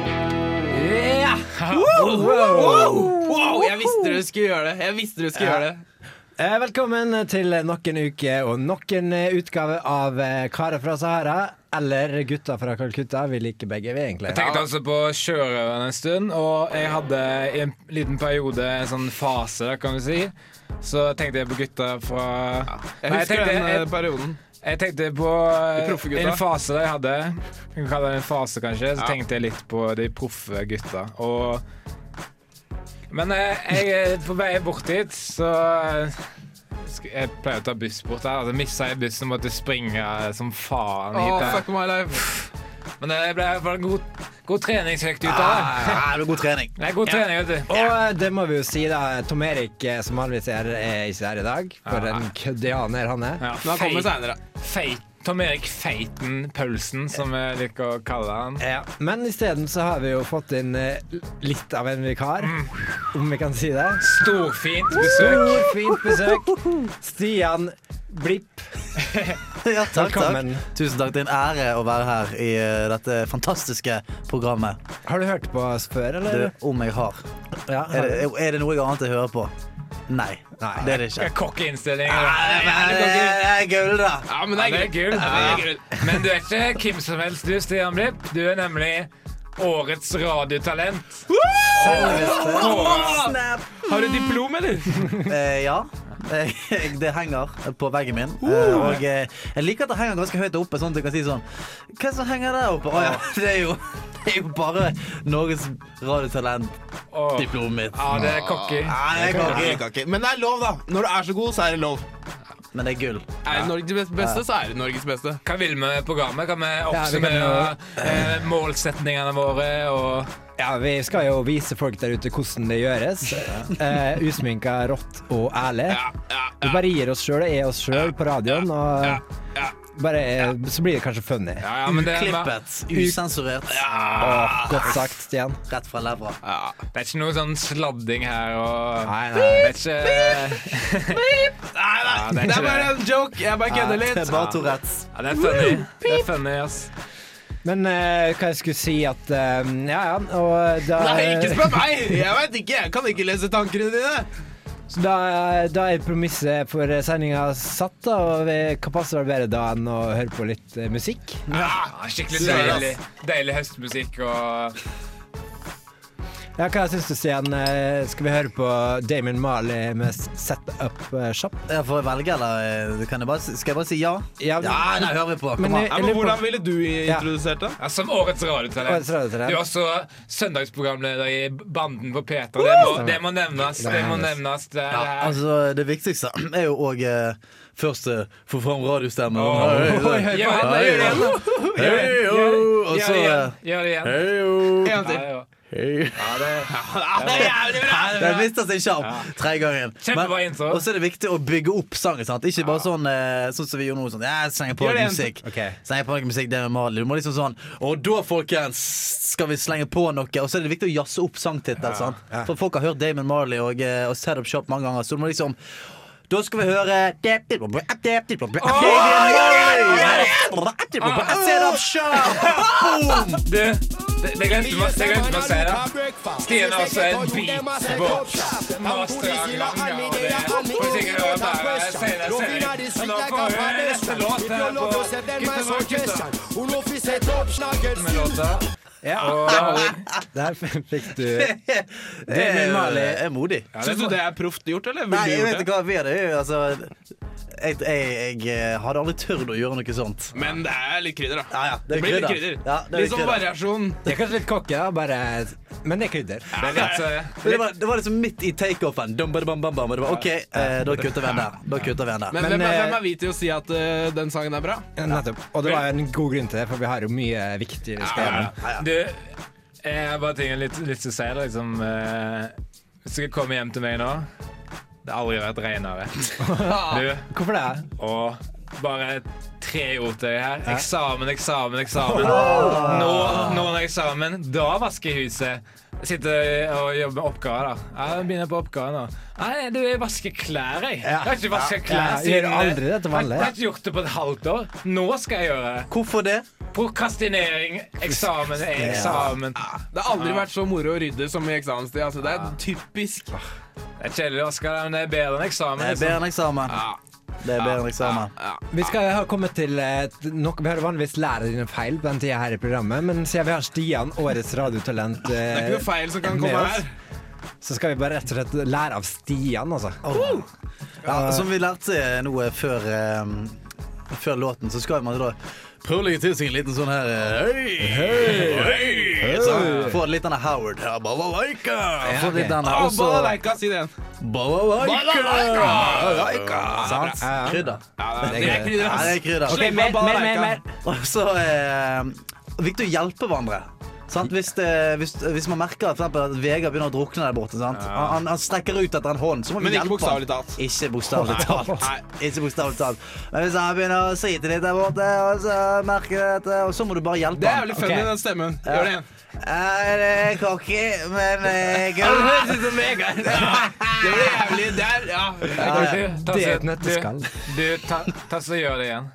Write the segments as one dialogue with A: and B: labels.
A: Ja! Wow! Wow, Jeg visste du skulle gjøre det. Jeg visste du skulle
B: Ja.
A: gjøre det.
B: Eh, Velkommen til nok en uke og nok en eh, utgave av eh, Karer fra Sahara. Eller Gutta fra Calcutta. Vi liker begge, vi, egentlig.
C: Jeg tenkte altså på sjørøveren en stund, og jeg hadde i en liten periode en sånn fase, da, kan du si. Så tenkte jeg på gutta fra
A: Jeg
C: Nei,
A: husker
C: tenkte,
A: den eh,
C: jeg,
A: perioden.
C: jeg tenkte på
A: De proffe gutta.
C: en fase da jeg hadde. Vi kan kalle det en fase, kanskje. Så
A: Ja.
C: tenkte jeg litt på de proffe gutta. Og Men eh, jeg er på vei bort dit, så eh, sk- jeg pleier å ta buss bort her. Altså, Missa jeg bussen og måtte springe som faen hit.
A: Oh,
C: da.
A: fuck my life.
C: Men det ble i hvert fall en god, god treningsøkt ut av det.
D: Ah, Ja, det er god trening.
C: Det er god trening, vet du.
B: Og eh, det må vi jo si, da. Tom Erik, eh, som vanligvis er, er ikke her i dag. For
C: Ja.
B: en køddianer han er.
C: Ja,
A: Men han kommer seinere.
C: feit, Tom Erik Feiten Paulsen, som jeg liker å kalle han.
B: Ja. Men isteden så har vi jo fått inn eh, litt av en vikar,
C: Mm.
B: om vi kan si det.
C: Storfint besøk.
B: Storfint besøk. Stian Blipp.
D: Ja, takk,
B: Velkommen.
D: takk. Tusen takk. Det er en ære å være her i eh, dette fantastiske programmet.
B: Har du hørt på oss før,
D: Du,
B: eller?
D: om jeg har.
B: Ja,
D: Er
B: har
D: det,
B: du?
D: er det noe jeg annet jeg hører på? Nei.
B: Nei.
D: Det er det ikke. Eh,
C: Kokkeinnstilling.
D: Ah, Jeg gauler.
A: Ja, men
C: Ja,
A: det er
C: det er
A: gull.
C: gull.
A: Ja, det er gull.
C: Men du er ikke hvem som helst, du, Stian Blipp. Du er nemlig årets radiotalent. Årets-
A: Har du diplom, eller?
D: Eh, ja. Eh, Det henger på veggen min. Eh, og eh, jeg liker at det henger ganske høyt oppe, sånn at jeg kan si sånn Hva er det som henger der oppe? Å ja, det er jo, det er jo bare Norges
C: Åh.
D: Radiotalent-diplomet mitt.
C: Ja, Ah. det er cocky.
D: Nei, det
C: Cocky.
D: kan jeg ikke.
E: Liker ikke. Men det er lov, da. Når du er så god, så er det lov.
D: Men det er gull.
A: Er det Norges beste, så er det Norges beste.
C: Hva vil vi med programmet? Kan vi
B: vi kan
C: oppsummere eh, målsetningene våre? Og
B: Ja, Vi skal jo vise folk der ute hvordan det gjøres. Eh, usminka, rått og ærlig. Vi bare gir oss sjøl og er oss sjøl på radioen, og bare, eh, så blir det kanskje funny.
C: ja, ja, men det, er-
D: Klippet. Usensurert.
B: Åh, godt sagt, Stian.
D: Rett fra levra.
C: det er ikke noe sånn sladding her. Og,
B: Nei,
C: Det er ikke
E: Nei, nei,
C: det er
E: det
C: ikke
E: er bare
C: det.
E: en joke. Jeg bare kødder
D: Det
E: litt.
D: er bare Tourettes.
C: ja, Det er funny. Det er funny, ass.
B: Men eh, hva jeg skulle si at eh, Ja, ja. Og da,
E: Nei, ikke spør meg! Jeg vet ikke. Jeg kan ikke lese tankene dine.
B: så da, da er premisset for sendinga satt, da, og vi, hva passer vel bedre da enn å høre på litt eh, musikk?
C: Ja, skikkelig
E: Søren,
C: deilig, deilig høstmusikk og
B: Ja, Hva syns du, Stian? Eh, Skal vi høre på Damon Marley med Set Up eh, Shop?
D: Ja, Får jeg velge, eller eh, kan jeg bare, si- skal jeg bare si ja?
B: Ja,
D: Ja, nei, hører vi på.
B: Men
D: Kom an.
C: eh,
B: jeg- lurer på-
E: ville du introdusert det?
C: ja, Som årets radiotalent.
B: Årets radiotalent.
C: Du er også søndagsprogramleder i Banden på P3. Det må, det må nevnes. Det må nevnes. Det er,
D: Ja, altså, det viktigste er jo òg eh, først eh, få fram radiostemmen.
C: Åh.
D: Hei, hei.
C: Gjør det, gjør det igjen, da.
D: Hei, jo. Og
C: Gjør
D: så
C: det
D: eh,
C: igjen. Gjør det igjen.
D: Hei, jo.
E: En gang
C: Ja,
E: til.
C: ja. Ja,
D: Hei.
C: det,
E: Det er jævlig bra!
D: Den mister sin sjarm tredje gangen.
C: Kjempebra intro.
D: Og så er det viktig å bygge opp sangen. sant? Ikke bare sånn eh, Sånn som vi gjorde nå. sånn, ja, Slenge på
E: Gjør
D: noe
E: det
D: musikk.
B: Ok.
D: Slenge på noe musikk, det er Mali. Du må liksom sånn Og da, folkens, skal vi slenge på noe. Og så er det viktig å jazze opp sangtittel. sant? For folk har hørt Damon Marley og, eh, og Set Up Shop mange ganger, så du må liksom da skal vi høre Set up shop! Boom!
C: du, det, det glemte vi å- det glemte vi å si, da. Stian er også en beatbox-master av lange, og det får du sikkert høre bare senere, senere. Men nå får vi høre neste låt her på Gutta for gutta. Med låta.
B: Ja. Der fikk du
D: Det er, er modig.
E: Syns du det er sånn. proft gjort, eller? Ville
D: Nei,
E: du
D: jeg
E: gjort
D: vet ikke hva vi hadde jo, altså jeg, jeg, jeg eh, hadde aldri tørt å gjøre noe sånt.
E: Men det er litt krydder, da.
D: Ja, ja, det
E: Det
D: er
E: blir litt
D: krydder.
E: krydder.
D: Ja, det er
E: litt sånn
D: krydder.
E: variasjon.
B: Det er kanskje litt cocky, da, bare Men det er krydder.
C: Det er litt, eh,
D: Men det, var, det var liksom midt i takeoffen. Dum, ba, da, bam, bam, bam, og det var, OK, eh, da kutter vi en der. Da kutter vi en der.
E: Men,
B: Men,
E: hvem, er,
B: eh,
E: hvem er vi til å si at eh, den sangen er bra?
B: Nettopp. Og det var jo en god grunn til det, for vi har jo mye viktig vi skal gjennom.
C: Du, jeg har bare ting jeg har lyst lyst til å si. da, Liksom, eh, hvis du skal komme hjem til meg nå Det har aldri vært renere. Du,
B: Hvorfor det?
C: og bare tre ord til deg her. Eksamen, eksamen, eksamen.
B: Ah!
C: Nå, nå er det eksamen. Da vasker jeg huset. Sitter og jobber med oppgaver, da. Jeg begynner på oppgaven nå. Nei, du, jeg vasker klær, jeg. Jeg har ikke vasket klær eh,
B: Ja, jeg gjør aldri det til vanlig.
C: Jeg har ikke gjort det på et halvt år. Nå skal jeg gjøre det.
D: Hvorfor det?
C: Prokastinering, eksamen, er eksamen.
A: Det har aldri vært så moro å rydde som i eksamenstid. Altså, det er typisk.
C: Det er kjedelig, Oskar, men det er bedre enn eksamen.
D: Det er bedre
C: liksom.
D: enn eksamen. Det er bedre enn eksamen.
B: Vi skal ha kommet til eh, nok, Vi har vanligvis lært dine feil på den tida her i programmet, men siden vi har Stian, årets radiotalent,
A: Det er
B: eh,
A: ikke noe feil som kan
B: med
A: komme
B: oss.
A: her.
B: så skal vi bare rett og slett lære av Stian, altså.
D: Ja, som vi lærte nå eh, før, eh, før låten, så skal man da prøve å legge til seg en liten sånn her eh, Hei! Hei! Så Få litt av den Howard. Ja, Balalaika! Få litt den her.
A: Ah,
D: Også
A: Balalaika, si det igjen.
D: Balalaika! Sant?
B: Ja, ja.
D: Krydder.
A: Det er krydder,
D: Ja, det er
A: ass.
D: krydder.
B: Ok, mer, mer, mer, mer.
D: Og så eh, viktig å hjelpe hverandre. Sant? Hvis, det, hvis, hvis man merker at, for eksempel, at Vegard begynner å drukne der borte, sant? Han, han- han strekker ut etter en hånd, så må vi
A: Men ikke
D: hjelpe
A: bokstavelig
D: han.
A: talt.
D: Ikke bokstavelig talt. Ikke bokstavelig talt. Men hvis han begynner å slite litt der borte, og så merker jeg dette, og så må du bare hjelpe
A: Det er
D: han.
A: jævlig funny,
B: Ok.
A: den stemmen. Gjør det igjen.
D: Er eh, cocky, men eh, gul.
A: Det blir jævlig Det er ja.
C: Du, ta
B: Det er
C: så-
B: et nøtteskall.
C: du- Du, ta, ta så gjør det igjen.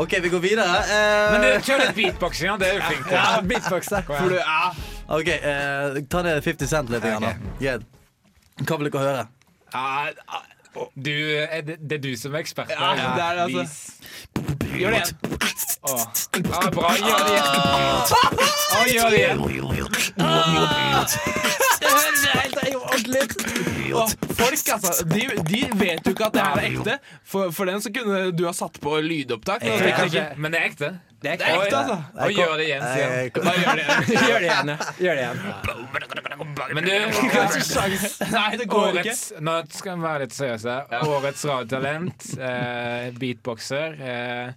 D: OK, vi går videre. Eh,
C: Men du, kjør litt beatboxing, ja. Det er du flink til.
B: Ja, beatbox der.
A: For du, ja.
D: OK, eh, ta ned 50 Cent litt. Igjen, da. Greit. Hva vil dere høre?
C: Ja, Du, er det, det er du som er ekspert.
A: ja, det er det, altså. Gjør det igjen.
C: Ja, bra. Gjør det igjen. Å, gjør det igjen.
A: Åh, folk, altså. De, de vet jo ikke at det her er ekte. For, for den så kunne du ha satt på lydopptak.
C: Det
A: da.
C: er kanskje, men det er ekte.
A: Det er ekte, altså.
C: Og gjør det igjen, sier han.
D: Eh,
A: Bare gjør det igjen.
B: Gjør det igjen. ja.
A: altså.
B: Gjør det igjen.
C: Men du,
A: Nei, det går ikke.
C: årets, nå skal vi være litt seriøse. Årets radiotalent, eh, beatboxer eh,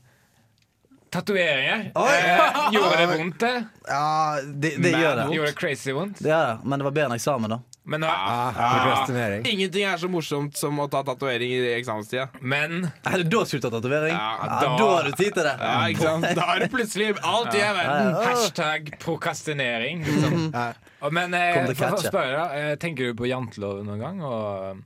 C: Tatoveringer. Eh, gjorde det vondt, det?
D: Ja, det, det gjør det.
C: Gjorde det crazy vondt?
D: Det gjør det, men det var bedre enn eksamen, da.
C: Men, nå,
B: Ah, Prokrastinering.
A: Ingenting er så morsomt som å ta tatovering i eksamenstida.
C: men
D: Nei, da skulle du ta tatovering.
C: Ja,
D: Ja,
C: da-
D: da har du tid til det.
A: Ja, ikke sant? Da er det plutselig alt i hele verden.
C: hashtag prokastinering. Liksom. Og, Men
D: Kom
C: eh, for
D: til
C: å
D: catchet.
C: spørre, da, eh, tenker du på janteloven noen gang? Og,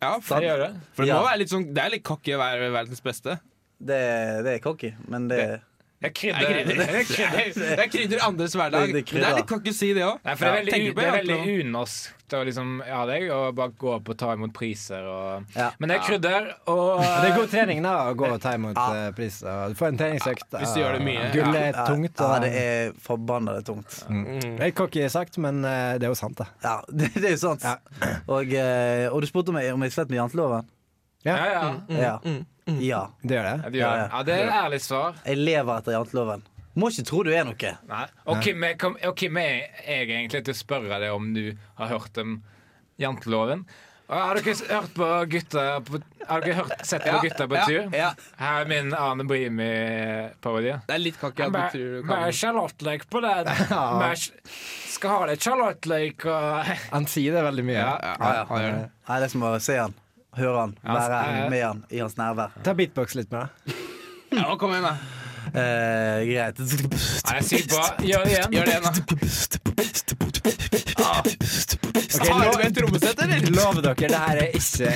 A: Ja, for,
C: jeg Sånn. gjør det.
A: for det må
D: Ja.
A: være litt sånn Det er litt cocky å være verdens beste.
D: Det, det er cocky, men det
C: Jeg krydder. Jeg krydder.
A: Det er krydder andres hverdag.
D: Det- det
A: Det,
D: er krydder.
A: er litt cocky å si det òg.
C: Nei, for det er veldig, u- det er veldig unorsk å liksom, ja, det er jo å bare gå opp og ta imot priser. Og,
D: Ja.
C: Men det er krydder, og
B: Ja, Det er god trening da, å gå og ta imot eh, pris. og Du får en treningsøkt.
A: Hvis du gjør det mye,
B: og Gull er tungt.
D: Ja,
B: og-
D: det er forbanna det er tungt.
B: Det er cocky sagt, men eh, det er jo sant, da.
D: Ja, det, det er jo sant. Og, eh, og du spurte meg om jeg slet med janteloven.
C: Ja, ja.
D: Ja.
C: mm,
D: ja.
B: Det gjør det.
C: Ja, det gjør det.
D: Mm. Ja, ja.
C: ja, det er et ærlig svar.
D: Jeg lever etter janteloven. Må ikke tro du er noe.
C: Nei. Og hvem er- kom- og hvem er jeg egentlig til å spørre deg om du har hørt om janteloven? Og Har dere s- hørt på gutter på, Har dere hørt, sett på gutter på tur?
A: Ja,
C: Her er min Arne Brimi-parodi.
A: det er litt cocky at du tror du
C: Med
A: kan
C: sjalottløk på den. Med sj- Skal ha litt sjalottløk og
B: Han sier det veldig mye.
C: Ja,
A: Ja, ja, han gjør det.
D: Nei, det er som å se han, høre han, være
C: ja. altså, eh.
D: med han i hans nærvær.
B: Ta beatbox litt med, da.
A: Ja, kom igjen, da.
D: Eh, greit.
C: Nei, det er sykt bra. Gjør det igjen.
A: Gjør det igjen, da. Har du et trommesett, eller?
B: Lover dere, det her er ikke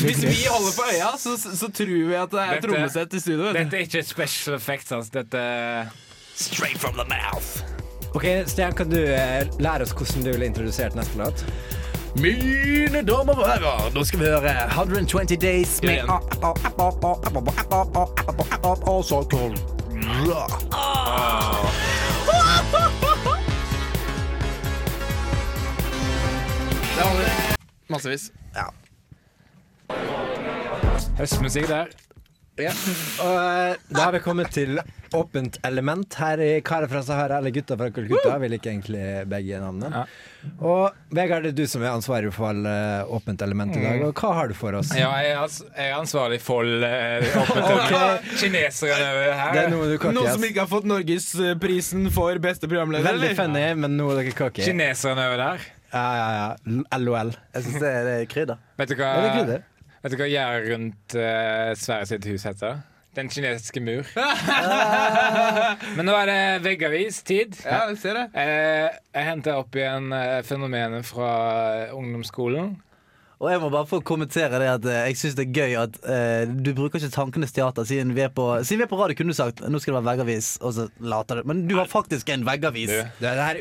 A: Hvis vi holder på øya, så, så, så tror vi at det er
C: Dette-
A: et trommesett i studio. vet du.
C: Dette er ikke special effects, altså. Dette
B: Ok, Stian, kan du eh, lære oss hvordan du ville introdusert neste låt?
D: Mine damer og herrer, nå skal vi høre 120 Days med
A: igjen.
D: Asakol.
A: Det holder. Massevis.
C: høstmusikk der.
B: Og eh, da har vi kommet til åpent element her i Karer fra Sahara, eller Gutta fra Kolkutta. Vi liker egentlig begge navnene. Og Vegard, det er du som er ansvarlig for eh, åpent element i
A: Mm.
B: dag. Og hva har du for
A: Eh,
B: oss?
C: Ja, jeg er, ans jeg er ansvarlig for eh, åpent
B: Ok.
C: kineserne her.
B: Det er noe du cocky,
A: Noen
B: ass.
A: som ikke har fått Norgesprisen for beste programleder,
B: Veldig funny, men nå er dere cocky. Ja,
C: Kineserne over der.
B: ja, ja. LOL.
A: Eh,
D: Jeg syns det, det er krydder.
C: Vet du hva?
B: Er det krydder?
C: Vet du hva gjerdet rundt eh, Sverre sitt hus heter? Den kinesiske mur. Men nå er det veggavis-tid.
A: Ja, jeg ser det.
C: Eh, jeg henter opp igjen eh, fenomenet fra eh, ungdomsskolen.
D: Og jeg må bare få kommentere det at eh, jeg syns det er gøy at eh, du bruker ikke Tankenes teater. Siden vi er på, siden vi er på radio, kunne du sagt nå skal det være veggavis, og så later du. Men du har faktisk en veggavis.
C: Du.
B: Det er det her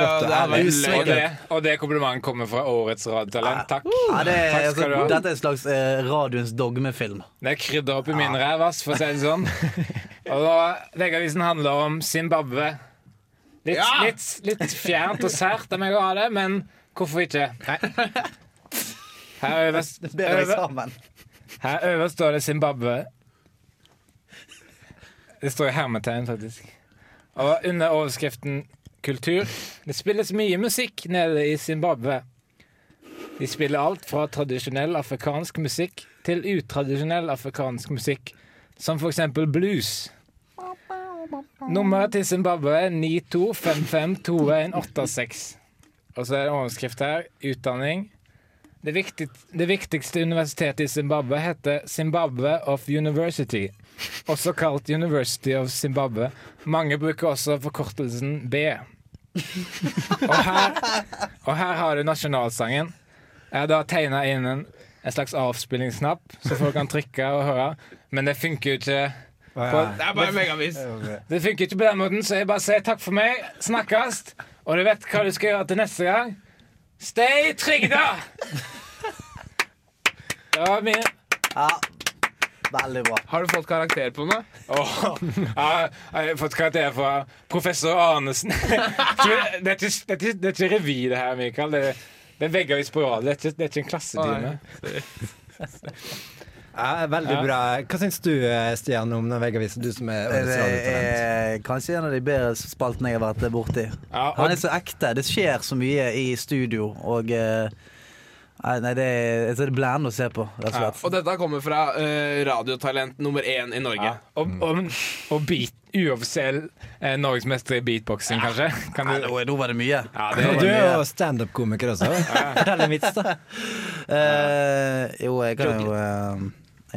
A: Ja, ja,
B: rotte
A: det er
B: er.
A: veldig
B: Usminka-
C: Og det, og det komplimentet kommer fra årets radiotalent. Takk.
D: Ja, det, er-
C: Takk
D: altså,
C: skal du ha.
D: dette er en slags eh, radioens dogmefilm.
C: Det krydder opp i min ræv, ass, for å si det sånn. Og da, Veggavisen handler om Zimbabwe. Litt,
A: Ja!
C: litt, litt fjernt og sært av meg å ha det, men hvorfor ikke? Her øverst,
D: Bedre
C: øver-
D: eksamen.
C: her øverst står det Zimbabwe. Det står i hermetegn, faktisk. Og under overskriften 'Kultur' Det spilles mye musikk nede i Zimbabwe. De spiller alt fra tradisjonell afrikansk musikk til utradisjonell afrikansk musikk, som for eksempel blues. Nummeret til Zimbabwe er 92552186. Og så er det en overskrift her. Utdanning. Det, viktig, det viktigste universitetet i Zimbabwe heter Zimbabwe of University, også kalt University of Zimbabwe. Mange bruker også forkortelsen B. Og her, og her har du nasjonalsangen. Jeg har da tegna inn en, en slags avspillingsknapp, så folk kan trykke og høre. Men det funker jo ikke. På,
A: Det er bare megavis.
C: det funker ikke på den måten, så jeg bare sier takk for meg. Snakkes. Og du vet hva du skal gjøre til neste gang. Stay trygda! Det var min.
D: Ja. Veldig bra.
A: Har du fått karakter på noe?
C: Åh, ja, jeg har fått karakter fra professor Arnesen. Tror du- Det er ikke, det er ikke, det er ikke revy, det her, Mikael. Det, det er veggavis på rad. Det, er ikke- det er ikke en klassetime.
B: Ja, veldig bra. Hva syns du, eh, Stian, om den veggavisen? Du som er
A: Eh,
B: årets
D: Det
B: radiotalent.
D: er kanskje en av de bedre spaltene jeg har vært borti.
C: Ja, og-
D: Han er så ekte. Det skjer så mye i studio, og eh, Nei, nei, det er, jeg tror det er blærende å se på, rett og slett.
A: Og dette kommer fra eh, radiotalent nummer én i Norge.
C: Ja. Og, og, og beat, uoffisiell eh, norgesmester i beatboxing, kanskje? Kan
D: Nei,
C: du,
D: nå, nå var det
C: ja,
D: mye.
B: Og
C: det,
B: du er
A: eh,
B: jo standup-komiker også. Fortell en vits, da.
D: Eh, jo, jeg kan jo eh,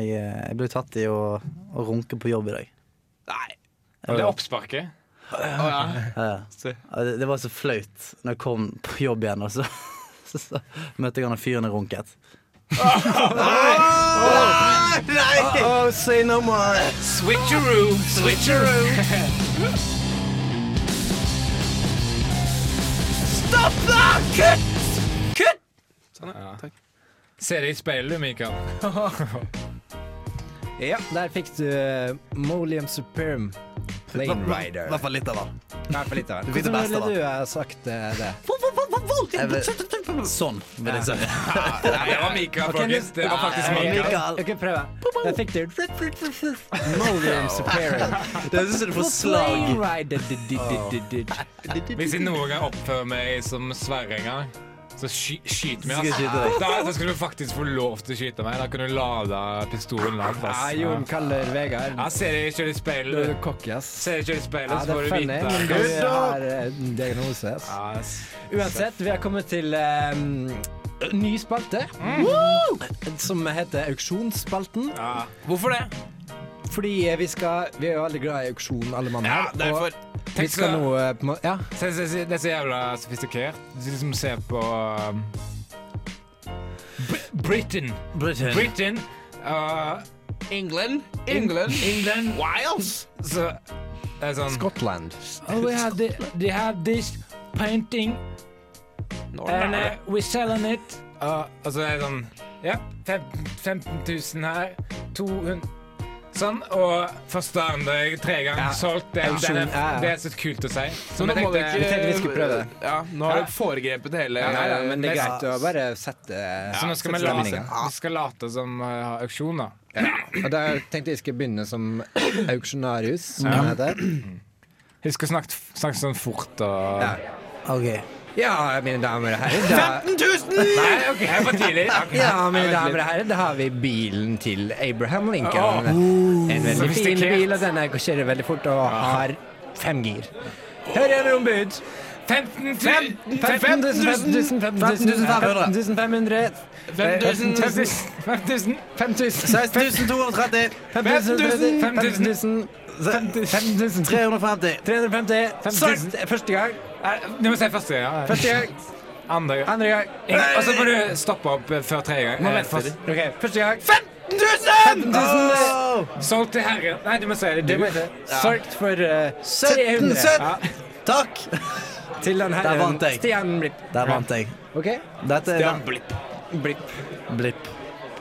D: jeg, jeg ble tatt i å, å runke på jobb i dag.
A: Nei.
C: det oppsparket.
A: Å, ja.
D: Ja, ja. Ja, det, det var så flaut når jeg kom på jobb igjen, og så, så, så møtte jeg han og fyren jeg runket.
B: Oh, say no more.
A: Switcheroo, switcheroo.
C: Se det i speilet, Mikael.
B: Ja, der fikk du eh, Molium Superm Plane Rider.
D: I hvert fall litt av han.
B: Nei, for litt av
D: Du fikk det
B: Hvordan
D: beste,
B: ville
D: da.
B: du ha sagt eh, det?
D: Jeg vil- Sånn vil jeg si.
C: Nei, det var Mikael, folkens. Det var faktisk
B: Ja,
C: Mikael.
D: Mikael.
B: Jeg kan prøve. Der fikk du Molium Superm
D: Det syns jeg du får slag.
B: Plane Rider. Did, did, did, did, did.
C: Hvis jeg noen gang oppfører meg som Sverre en gang, så sky skyt meg.
D: Skal jeg skyte
C: Altså.
D: deg?
C: Da, da skulle du faktisk få lov til å skyte meg. Da kunne du lada pistolen langt.
B: Ja,
C: ass.
B: Ah, Jon kaller Vegard
C: Ja, ser jeg ikke det i
B: Du er
C: speilet.
B: cocky, ass.
C: Ser jeg ikke det i speilet,
B: Ja,
C: så
B: det
C: får
B: er
C: du
B: funny,
C: vite.
B: men
C: ass.
B: du har eh, en diagnose, ass.
C: Ja, ass.
B: Uansett, vi har kommet til eh, ny spalte. Woo! Som heter Auksjonsspalten.
C: Mm. Ja.
A: Hvorfor det?
B: Fordi eh, vi skal Vi er jo veldig glad i auksjon, alle mann
A: Ja,
B: her.
A: derfor.
B: og vi skal nå eh, på en måte- Ja.
C: Se, se, se, det er så jævla sofistikert. Du liksom ser på um, Br- Britain.
D: Britain.
C: Britain. Uh,
A: England, England,
C: England.
A: Wales.
C: Så det er sånn
B: Skottland.
C: Oh, we have the, they have this painting and uh, we're selling it. Uh, altså det er sånn Ja, fem- 15 000 her. 200 Sånn. Og første, andre, tredje gang solgt. Det, er-
B: Auksjon,
C: det,
B: ja, ja.
C: er- det er så kult å si.
A: Så
C: Så
A: nå
C: vi
A: må vi
C: tenkte-
A: ikke
B: tenkte vi skulle prøve det.
A: Ja, Nå har
C: Ja.
A: du foregrepet hele
C: nei, nei, men det er
B: greit å bare sette
C: så nå skal vi,
B: sette
C: late,
B: stemningen.
C: vi skal late som uh, har auksjon, da.
B: Og da tenkte jeg skulle begynne som auksjonarius, som det heter.
C: Husk å snakke, snakke sånn fort og
B: Ja.
D: Ok.
B: Ja, mine damer og herrer. Da,
C: Nei, OK, det var tidlig. Ok.
B: ja, mine damer og herrer, da har vi bilen til Abraham Lincoln. En
D: Uh,
B: veldig fin
C: Sofistikert.
B: bil, og denne kjører veldig fort og har fem gir. Her er det ombud.
C: 15
A: Fem.
C: 000
B: 15 000, 15 000, 15 500
A: 5000.
B: 5000 5000
D: 6230.
B: 5000 5000 5000
D: 350.
B: 350 5000 Første gang,
C: Nei, Du må si første gang. ja.
B: første gang,
C: Andre gang.
B: andre gang
C: Og så må du stoppe opp eh, før tredje gang. Eh,
A: venter
C: fast-
B: Ok, første gang
A: 15 000!
D: Åh!
C: Solgt til herren. Nei, du må si det.
B: Det må
C: Du.
B: jeg si. Solgt for eh,
D: 17,
B: 300
D: 17.
B: Ja,
D: Takk!
B: Til den
D: Der vant
B: herren
D: jeg.
B: Stian Blipp
D: Der vant jeg.
B: Ok,
D: Dette er
A: Stian Blipp.
B: Blipp
D: blipp.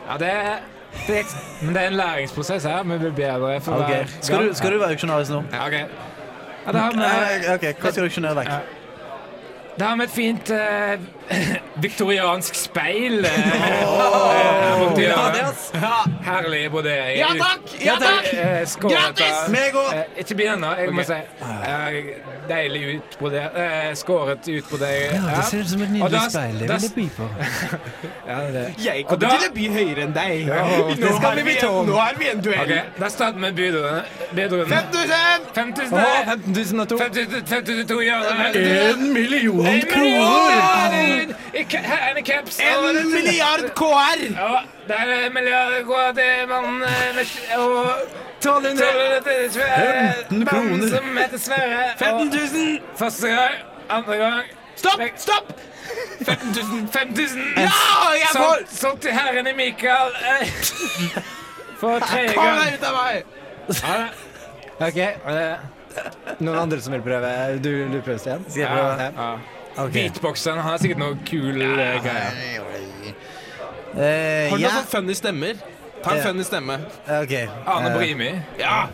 C: Ja, det er, det er, men det er en læringsprosess her. Vi blir bedre for
D: Ok,
C: hver
D: Skal du, skal du være auksjonarisk nå?
C: Ja, ok. Ja, da har vi...
D: Eh, Ok, Hva skal du auksjonere vekk?
C: Da har vi et fint eh, viktoriansk speil. eh, eh, borti
D: Oh,
C: hjørnet. Herlig både
A: Ja takk! Ja takk!
C: Eh, Skål.
A: Gratis!
C: dette.
D: Meg òg!
C: Eh, ikke begynn ennå. Jeg må si eh, deilig utbrodert eh, Skåret utbrodert.
B: Det ser ut som et
C: Og da-
B: nydelig speil Det
C: da-
B: vil jeg by på
A: Jeg
C: Og da-
A: kommer til å bli høyere enn deg.
C: Ja,
A: Nå
B: skal
A: har
B: bli
A: vi
B: mitt
A: en-
B: hånd.
A: nå har vi en duell.
C: Ok, Da starter vi med budrunden. budrunden.
A: 5000!
C: 5000
B: Åh,
C: eh,
B: 15002
C: 52 hjørner.
B: En million
C: En million! I ca- her er det caps. Og
A: En
C: dette-
A: milliard KR!
C: Ja, det er en milliard kroner til mannen eh, med- og 1200 til Sverre. Mannen som heter Sverre. og-
A: 15 000!
C: Første gang, andre gang
A: Stopp! Stopp! Sånn.
C: 5000! 5000!
A: Ja, jeg får
C: Solgt, solgt til herren i Mikael. eh, For tredje
A: Kom
C: gang.
A: deg ut av meg!
B: Ok, eh, noen andre som vil prøve? Du, du prøver, Stian?
D: Skal jeg prøve?
C: Ja, ja. Beatboxeren har sikkert noe kul eh, greier.
D: Eh,
A: Har du
D: ja,
A: noen sånn funny stemmer? Ta en
D: Ja.
A: funny stemme.
D: ok.
C: Arne
D: Eh,
C: Brimi.
A: Ja!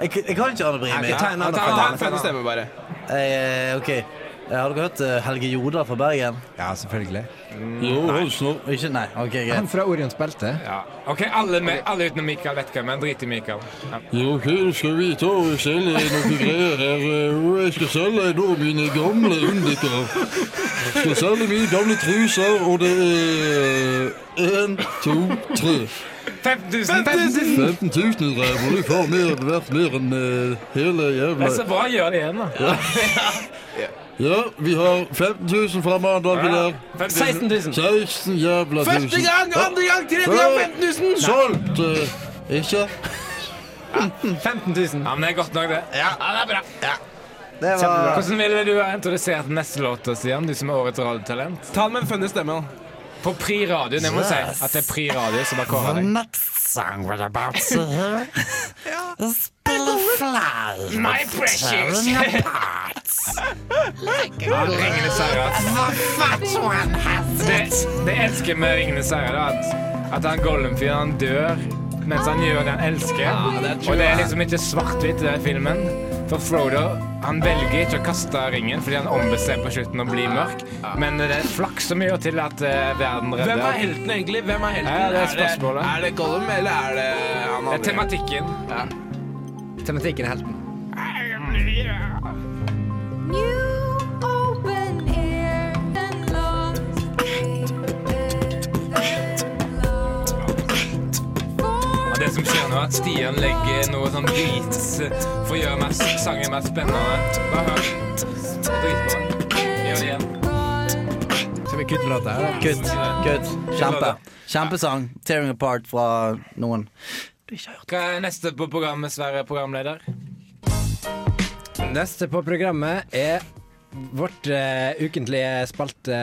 D: Jeg, jeg kan ikke Arne Brimi.
B: Ok, ta en annen
C: ta-
A: Ta
B: fra
A: en funny stemme, bare.
D: Eh, ok. Eh, Har dere hørt eh, Helge Jodal fra Bergen?
B: Ja, selvfølgelig
D: Ikke? Nei. ok,
B: Han
D: greit.
B: fra Orions belte
C: Ja. OK, alle, med, alle utenom Mikael vet hva, men drit i Mikael. Ja.
F: Jo, hva du skal vite òg, selv er noen greier her. eh, Og jeg skal selge da mine gamle undiker. Skal selge mine gamle truser, og det er én, to, tre.
C: 5000! 5000.
F: 15 000 drever, de får mer, verdt mer enn eh, hele
C: Det
F: jævla
C: er
A: Altså-
C: så bra å gjøre det igjen, da.
F: Ja, vi har 15 000 fra mandag til der.
B: 000
C: 5000.
F: 16 jævla tusen.
A: Første gang, andre gang, tredje gang, 15 000!
F: Solgt! eh, Ikke?
B: 15 000
C: Ja, men det er godt nok, det.
D: Det var
C: Hvordan ville du ha introdusert neste låt, Stian, du som er årets radiotalent?
A: Ta den med en funny stemme. da.
C: På Pri Radio. Jeg må si at det er Pri Radio som har kåra deg.
D: Next song was about to hear. Spille flowers
C: My precious! Ja, Ringenes herre. ass. Det, det elsker med Ringenes herre, da. At, at han Gollum-fyren han dør mens han gjør det han elsker. og det er liksom ikke svart-hvitt i den filmen. For Frodo han velger ikke å kaste ringen fordi han ombestemmer på slutten å bli mørk. Men det er flaks som gjør til at eh, verden redder.
A: Hvem er helten, egentlig? Hvem er helten?
C: Ja, det er spørsmålet.
A: Er det Gollum, eller er det han
C: Det er
A: andre?
C: tematikken.
B: Tematikken er helten
G: New open air and lost
C: Og det som skjer nå, er at Stian legger noe sånn beats for å gjøre mer, sangen mer spennende. Bare hør. Dritbra. Gjør det igjen.
B: Skal vi kutte låta her?
D: Kutt. Kutt. Kjempe. Kjempesang. 'Tearing Apart' fra noen. Du har ikke hørt
C: Hva er neste på programmet, Sverre programleder?
B: Neste på programmet er vårt eh, ukentlige spalte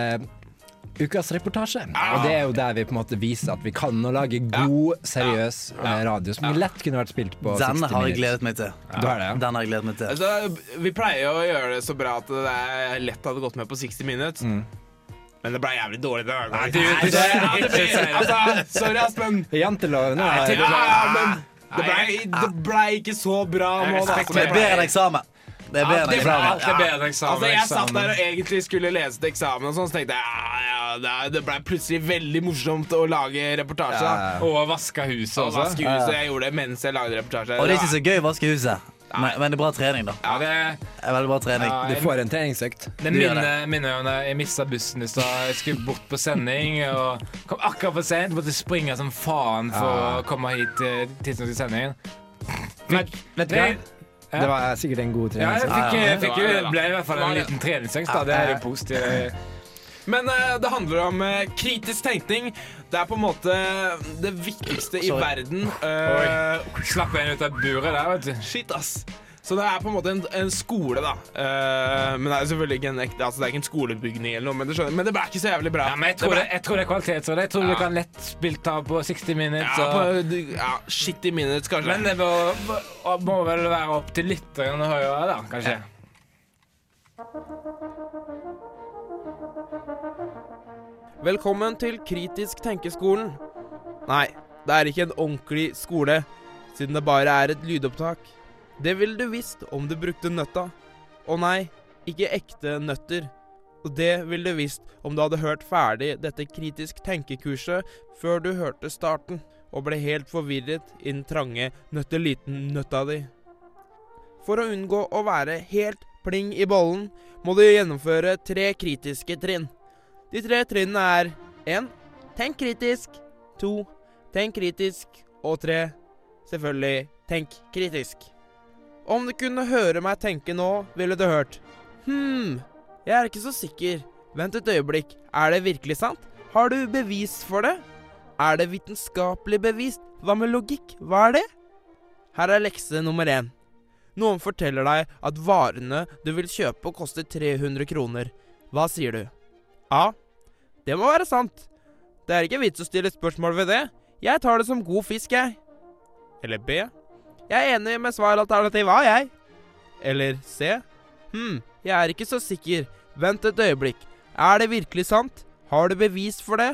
B: Ukas reportasje. Og det er jo der vi på en måte viser at vi kan å lage god, seriøs eh, radio som lett kunne vært spilt på 60
D: Den
B: minutter.
D: har jeg gledet meg til.
B: Du har det, ja?
D: Den har jeg gledet meg til.
A: Altså, vi pleier jo å gjøre det så bra at det er lett hadde gått med på 60 Minutes. Men det ble jævlig dårlig denne gangen.
C: du-
A: Mm. Nei, det- ja, det ble- altså, Sorry, Aspen.
B: Janteloven
A: Ja,
B: er
A: ja, men det ble, det ble ikke så bra nå, da.
D: Det er bedre enn eksamen. Det er bedre enn
A: det er bra.
D: eksamen.
C: Alt er bedre enn eksamen.
A: Altså, jeg satt
C: eksamen.
A: der og egentlig skulle lese til eksamen, og sånn, så tenkte jeg
H: "Ah,
A: ja, ja, det er- det ble plutselig veldig morsomt å lage reportasje. da.
C: og vaska huset
A: Og vaske
C: også.
A: huset, jeg gjorde det mens jeg lagde reportasje.
D: Og det er
A: var-
D: ikke så gøy å vaske huset. Men, men det er bra trening, da.
C: Ja, det,
D: Det er Veldig bra trening.
C: ja,
B: Du
C: jeg-
B: får en treningsøkt.
C: det
D: du gjør
C: minner minner om da jeg mista bussen i stad. Jeg skulle bort på sending og kom akkurat for seint. Måtte springe som eh, faen for å komme hit til tidsnok til sendingen.
B: Vet du hva?
C: Det-
B: Det var sikkert en god
C: Ja, jeg
B: trening.
C: fikk, jeg fikk jo,
H: Det var det, da.
C: ble i hvert fall
H: Det
C: en
H: var det.
C: liten treningsøkt. da. Det er jo positivt.
H: Men eh, det handler om eh, kritisk tenkning. Det er på en måte det viktigste i
D: Sorry.
H: verden. eh,
C: Slapp en ut av buret der, vet du.
H: shit, ass. Så det er på en måte en, en skole, da. Eh, men det er jo selvfølgelig ikke en ekte Altså det er ikke en skolebygning eller noe, men, det skjønner, men det ble ikke så jævlig bra.
C: Ja, men jeg tror, det, jeg tror det er kvalitetsråd. Jeg tror
H: Ja.
C: du kan lett spilt av på 60 minutes.
H: ja,
C: og-
H: på, ja, shit i minutes, kanskje.
C: Men det må, må vel være opp til lytteren å høre, da, kanskje.
H: Velkommen til Kritisk tenkeskolen. Nei, det er ikke en ordentlig skole, siden det bare er et lydopptak. Det ville du visst om du brukte nøtta. Å nei, ikke ekte nøtter. Og det ville du visst om du hadde hørt ferdig dette kritisk tenkekurset før du hørte starten, og ble helt forvirret i den trange nøtteliten-nøtta di. For å unngå å være helt pling i bollen, må du gjennomføre tre kritiske trinn. De tre trinnene er 1. Tenk kritisk. 2. Tenk kritisk. Og 3. Selvfølgelig tenk kritisk. Om du kunne høre meg tenke nå, ville du hørt Hm, jeg er ikke så sikker. Vent et øyeblikk. Er det virkelig sant? Har du bevis for det? Er det vitenskapelig bevist? Hva med logikk? Hva er det? Her er lekse nummer én. Noen forteller deg at varene du vil kjøpe, koster 300 kroner. Hva sier du? Ja, det må være sant. Det er ikke vits å stille spørsmål ved det. Jeg tar det som god fisk, jeg. Eller B. Jeg er enig med svaralternativ A, jeg. Eller C. Hm, jeg er ikke så sikker. Vent et øyeblikk. Er det virkelig sant? Har du bevis for det?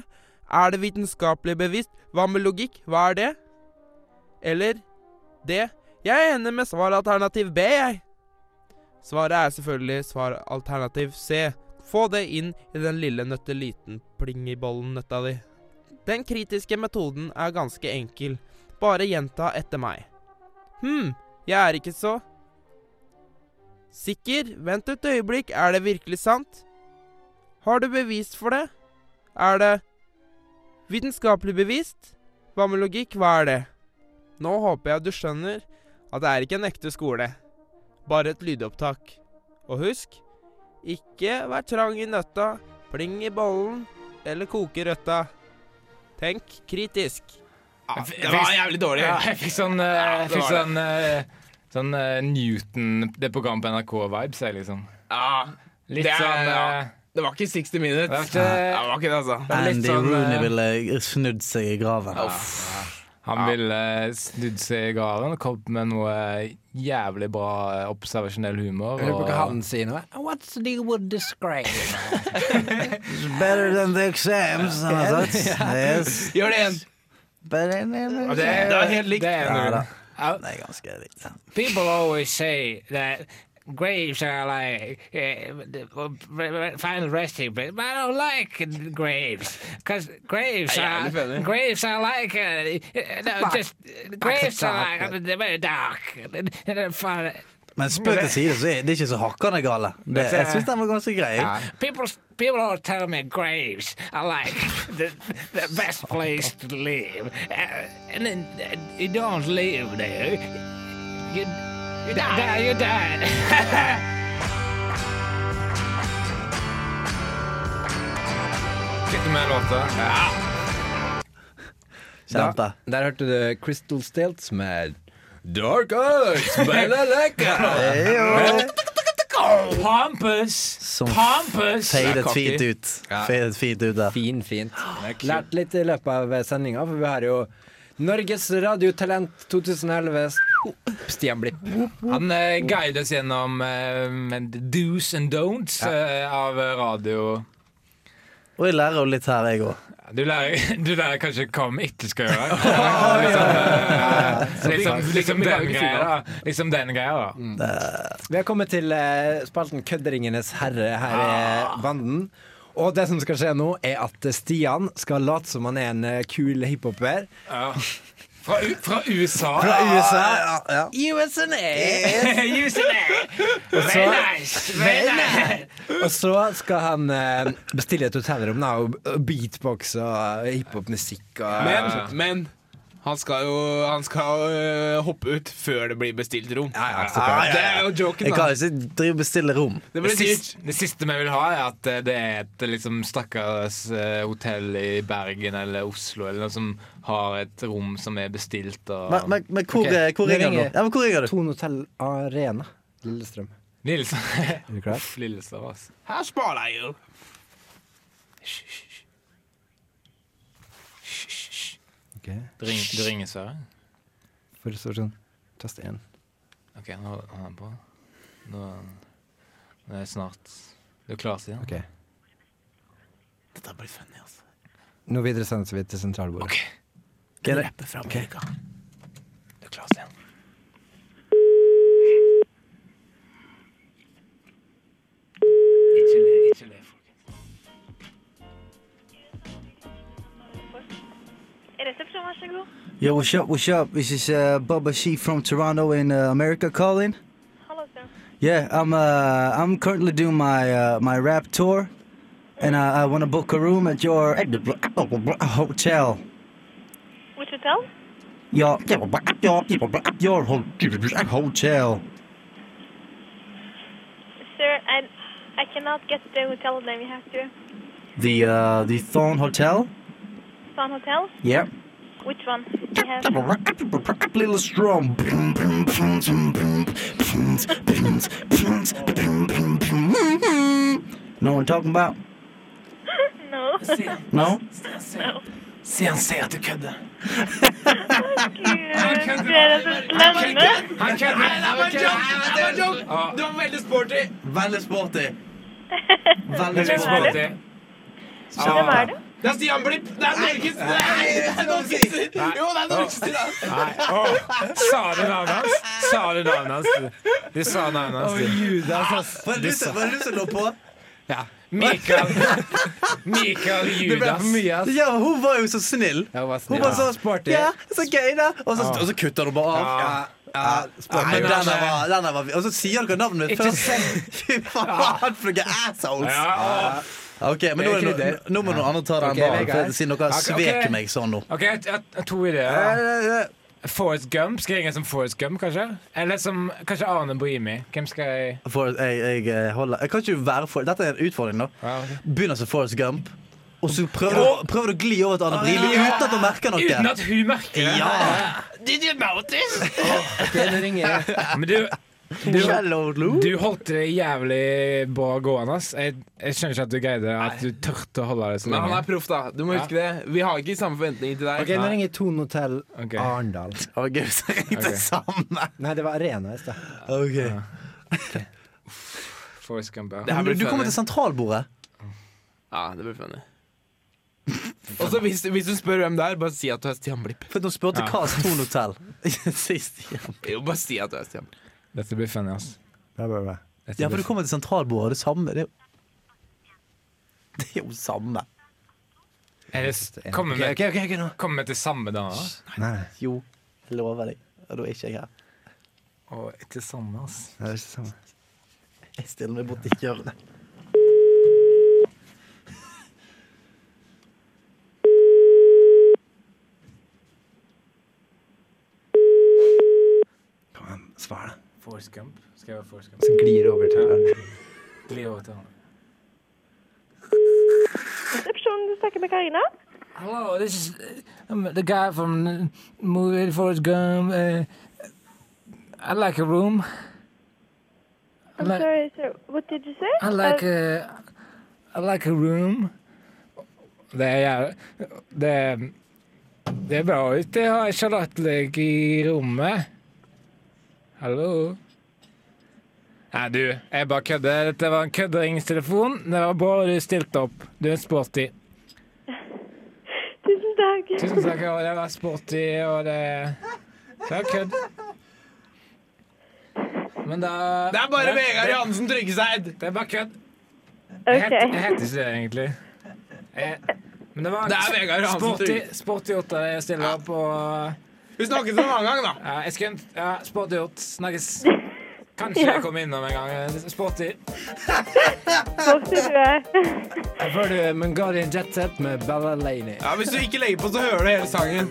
H: Er det vitenskapelig bevist? Hva med logikk? Hva er det? Eller D. Jeg er enig med svaralternativ B, jeg. Svaret er selvfølgelig svaralternativ C. Få det inn i den lille nøtteliten plingibollen-nøtta di. Den kritiske metoden er ganske enkel. Bare gjenta etter meg. Hm, jeg er ikke så Sikker, vent et øyeblikk, er det virkelig sant? Har du bevis for det? Er det vitenskapelig bevist? Hva med logikk, hva er det? Nå håper jeg du skjønner at det er ikke en ekte skole, bare et lydopptak. Og husk, ikke vær trang i nøtta, pling i bollen eller koke røtta. Tenk kritisk.
C: Ja,
H: det var jævlig dårlig.
C: Ja, jeg fikk sånn, eh, jeg
H: det
C: fikk
H: var
C: sånn, eh, sånn eh, Newton, det programmet på NRK-vibes, jeg, liksom. Litt
H: Det er-
C: sånn
H: ja.
C: eh,
H: Det var ikke 60 minutes.
C: Det var ikke-
H: Ja, det, var ikke det altså.
C: det er litt
D: Andy
C: sånn, eh,
D: Rooney ville snudd seg i graven.
C: Han ville eh, snudd seg i graven og kommet med noe eh, jævlig bra eh, observasjonell humor.
B: Jeg lurer på hva
C: og-
B: han sier nå. What's the deal with this crane?
D: Better than the exams, han har sagt. Yes.
H: Gjør det igjen.
D: Better than the
C: Det
D: exams.
C: er,
H: Det er helt likt.
C: Det er
D: Ja, da.
C: jo- Au.
D: Nei, ganske likt.
A: People always say that graves are like uh, the- uh, final resting place, but I don't like graves because graves
H: Yeah,
A: are
H: definitely.
A: graves are like uh, uh, no, just uh, graves are like uh, they're very dark and, and they're fun.
D: Men spøk til side, så er det ikke så hakkende gale. Det, jeg syns den var ganske grei.
A: People people all tell me graves are like the the best place to live, uh, and then uh, you don't live there. You you die. You die.
C: Sitter med låter.
D: Kjempe.
B: Der hørte du Crystal Stilts med Dark Eyes, Balalaika.
C: Pompous!
D: Som
C: Pompous!
D: fadet
H: cocky.
D: fint ut. Fadet fint ut der.
B: Fin, fint. Lært litt i løpet av sendinga, for vi har jo Norges Radiotalent 2011, Stian Blipp.
C: Han
A: eh,
C: uh, guider oss gjennom eh, en do's and don'ts eh, av radio.
D: Og jeg lærer jo litt her, jeg òg.
C: Du lærer, du lærer kanskje hva vi ikke skal gjøre. Liksom, eh, liksom, liksom den greia, da. Liksom den greia,
B: Mm.
C: da.
B: Vi har kommet til eh, spalten Kødderingenes herre her i banden. Og det som skal skje nå, er at Stian skal late som han er en eh, kul hiphoper
C: Fra, U- fra USA.
B: fra USA.
D: ja.
B: USA!
A: Very nice. Very nice.
B: Og så skal han eh, bestille et hotellrom da, og og beatbox og eh, hiphopmusikk. og-
H: Men, men
A: Han skal jo han skal, øh, hoppe ut før det blir bestilt rom.
D: ja, så klart.
A: Ah, Det er jo joken,
D: Jeg
A: da.
D: kan ikke drive og bestille rom.
A: Det
C: Det
A: blir dyrt.
C: siste, det siste vi vil ha, er at eh, det er et liksom, stakkars eh, hotell i Bergen eller Oslo eller noe som har et rom som er bestilt. Og...
D: Men, men, men hvor,
A: Ok,
D: eh, hvor
B: vi
D: ringer du nå?
B: ringer.
D: Ja, men hvor ringer du?
B: Tone Hotel Arena, Lillestrøm.
C: Nilsen.
B: Er du klar?
C: Uff, Lillestrøm, ass.
A: Her sparer jeg jo.
B: Ok,
C: Du ringer, du ringer Sverre?
B: for sånn. Test én.
C: OK, nå holder han på. Nå, nå er det snart Du er klar, Stian?
B: Ok.
D: Dette blir funny, altså.
B: Nå videre sendes vi til sentralbordet.
D: Er det,
C: Du er klar, Stian? Ikke le, ikke le.
I: Resepsjon, vær så god.
D: Yo, what's up, what's up? This is uh, Bubba She from Toronto in uh, America calling.
I: Hallo, Sten.
D: Yeah, I'm uh, I'm currently doing my uh, my rap tour, and I, I want to book a room at your hotel.
I: Which hotel?
D: Your your your hotel.
I: Sir, I, I cannot get the hotel name. You have to.
D: The uh, the Thorn Hotel.
I: Sun Hotel?
D: Yep.
I: Which one? We have.
D: Little Strom. Mm-hmm. Know what I'm talking about?
I: No.
D: No.
C: Stian, se at du kødder.
I: Gud, du er så slemme.
C: Han kødder! Han kødder.
A: Du var veldig sporty.
D: Veldig sporty.
C: Hvem er det?
I: Hvem er det?
A: Det er Stian Blipp! Det er Norges Nei, det er Norges Jo, det er Norges
C: Nei. Åh, Sa du navnet hans? Sa du navnet hans? du? Du sa navnet hans. du.
D: Hva er det du som lå på?
C: Ja. Mikael Mikael Judas.
D: Ja, hun var jo så snill.
C: Jeg var
D: Hun
C: snill.
D: var så sporty. Ja, så gøy, da. Og så, og så kutter hun bare av.
C: Ja.
D: Ja, Nei,
C: men
D: den
C: altså-
D: der var, den der var Og så sier dere navnet mitt
C: Ikke
D: først. Fy faen, for noen assholes!
C: Ja, åh.
D: Ok, men nå, er det
B: ikke
D: no- nå må noen andre ta den
B: Ok,
D: baren,
B: Vegard.
D: for siden dere
C: Ok, ok.
D: sveker meg sånn nå. Eh,
C: OK, jeg jeg- jeg har to ideer. Forrest Gump. Skal jeg ringe som Forrest Gump, kanskje? Eller som kanskje Arne Brimi. Hvem skal jeg
D: For, jeg, jeg, eh, holder Jeg kan ikke være for Dette er en utfordring nå.
C: Ja, ok.
D: Begynner som Forrest Gump, og så prøver du, prøver du å gli over til Anne Brimi uten at hun merker noe.
C: Uten at hun merker det.
D: Ja.
C: Did you notice?
B: Ok, nå ringer jeg.
C: Men du,
D: Shallow Lou.
C: du holdt det jævlig bra gående. ass. Jeg, jeg skjønner ikke at du greide at du turte å holde det så
A: Men han
C: lenge.
A: er proff, da. Du må huske det. Vi har ikke samme forventninger til deg.
B: Ok, nå ringer Tone Hotel
C: Ok.
B: Arendal.
D: Å, gud, så ringte det samme.
B: Nei, det var Arena i sted.
D: Okay.
C: Forrest Gump, ja.
A: Det her
D: Men
A: blir
D: du, du kommer
A: funny.
D: til sentralbordet.
A: Ja, det blir funny. Og så hvis, hvis du spør hvem det er, bare si at du er Stian Blipp.
D: For nå spurte
C: Ja.
D: hva som Tone Hotel sist. Ja.
A: Jo, bare si at du er Stian Blipp.
C: Dette blir funny, ass.
B: Bra, bra, bra.
C: Dette
D: ja,
C: blir
D: for du kommer til sentralbordet, og det samme Det er jo, det er jo samme.
C: Er det, s- kommer vi
B: ok, ok, ok, nå.
C: kommer vi til samme dame?
B: Nei, nei,
D: Jo, jeg lover deg. Og da er ikke jeg her.
C: Og til samme, ass.
B: det er ikke samme.
D: Jeg stiller meg borti hjørnet.
B: Kom igjen, svar da.
C: Forrest Gump. Skal jeg være Forrest Gump?
B: Så glir det over til deg.
C: Gli over til han.
I: Resepsjon, du snakker med Karina.
J: Hello, this is uh, um, the guy from uh, movie Forrest Gump. Uh, I like a room.
I: I'm
J: Like-
I: sorry, sir. What did you say?
J: I like a,
I: Uh,
J: I like a room. Det er, det, er- det er bra ut. Jeg har sjalattløk i rommet. Hallo? Nei, du, jeg bare kødder. Dette var en kødderingstelefon. Det var bra du stilte opp. Du er sporty.
I: Tusen takk.
C: Tusen takk, og det var sporty, og det Det var kødd. Men da
A: Det er bare
C: det-
A: Vegard
C: det-
A: Johansen Tryggeseid!
C: Det er bare kødd. Jeg het- jeg
I: Ok.
C: heter ikke det, egentlig. Jeg, men det var
A: Det er Vegard Johansen
C: sporty,
A: Trygg.
C: sporty gjort av deg å stille opp, og
A: Vi snakkes en annen gang, da.
C: ja, jeg skulle ja, Sporty gjort. Snakkes. Kanskje jeg kommer innom en gang. Sporty.
I: Vokser du er.
B: Jeg får du Mungadian Jet Set med Bella Laney.
A: Ja, Hvis du ikke legger på, så hører du hele sangen.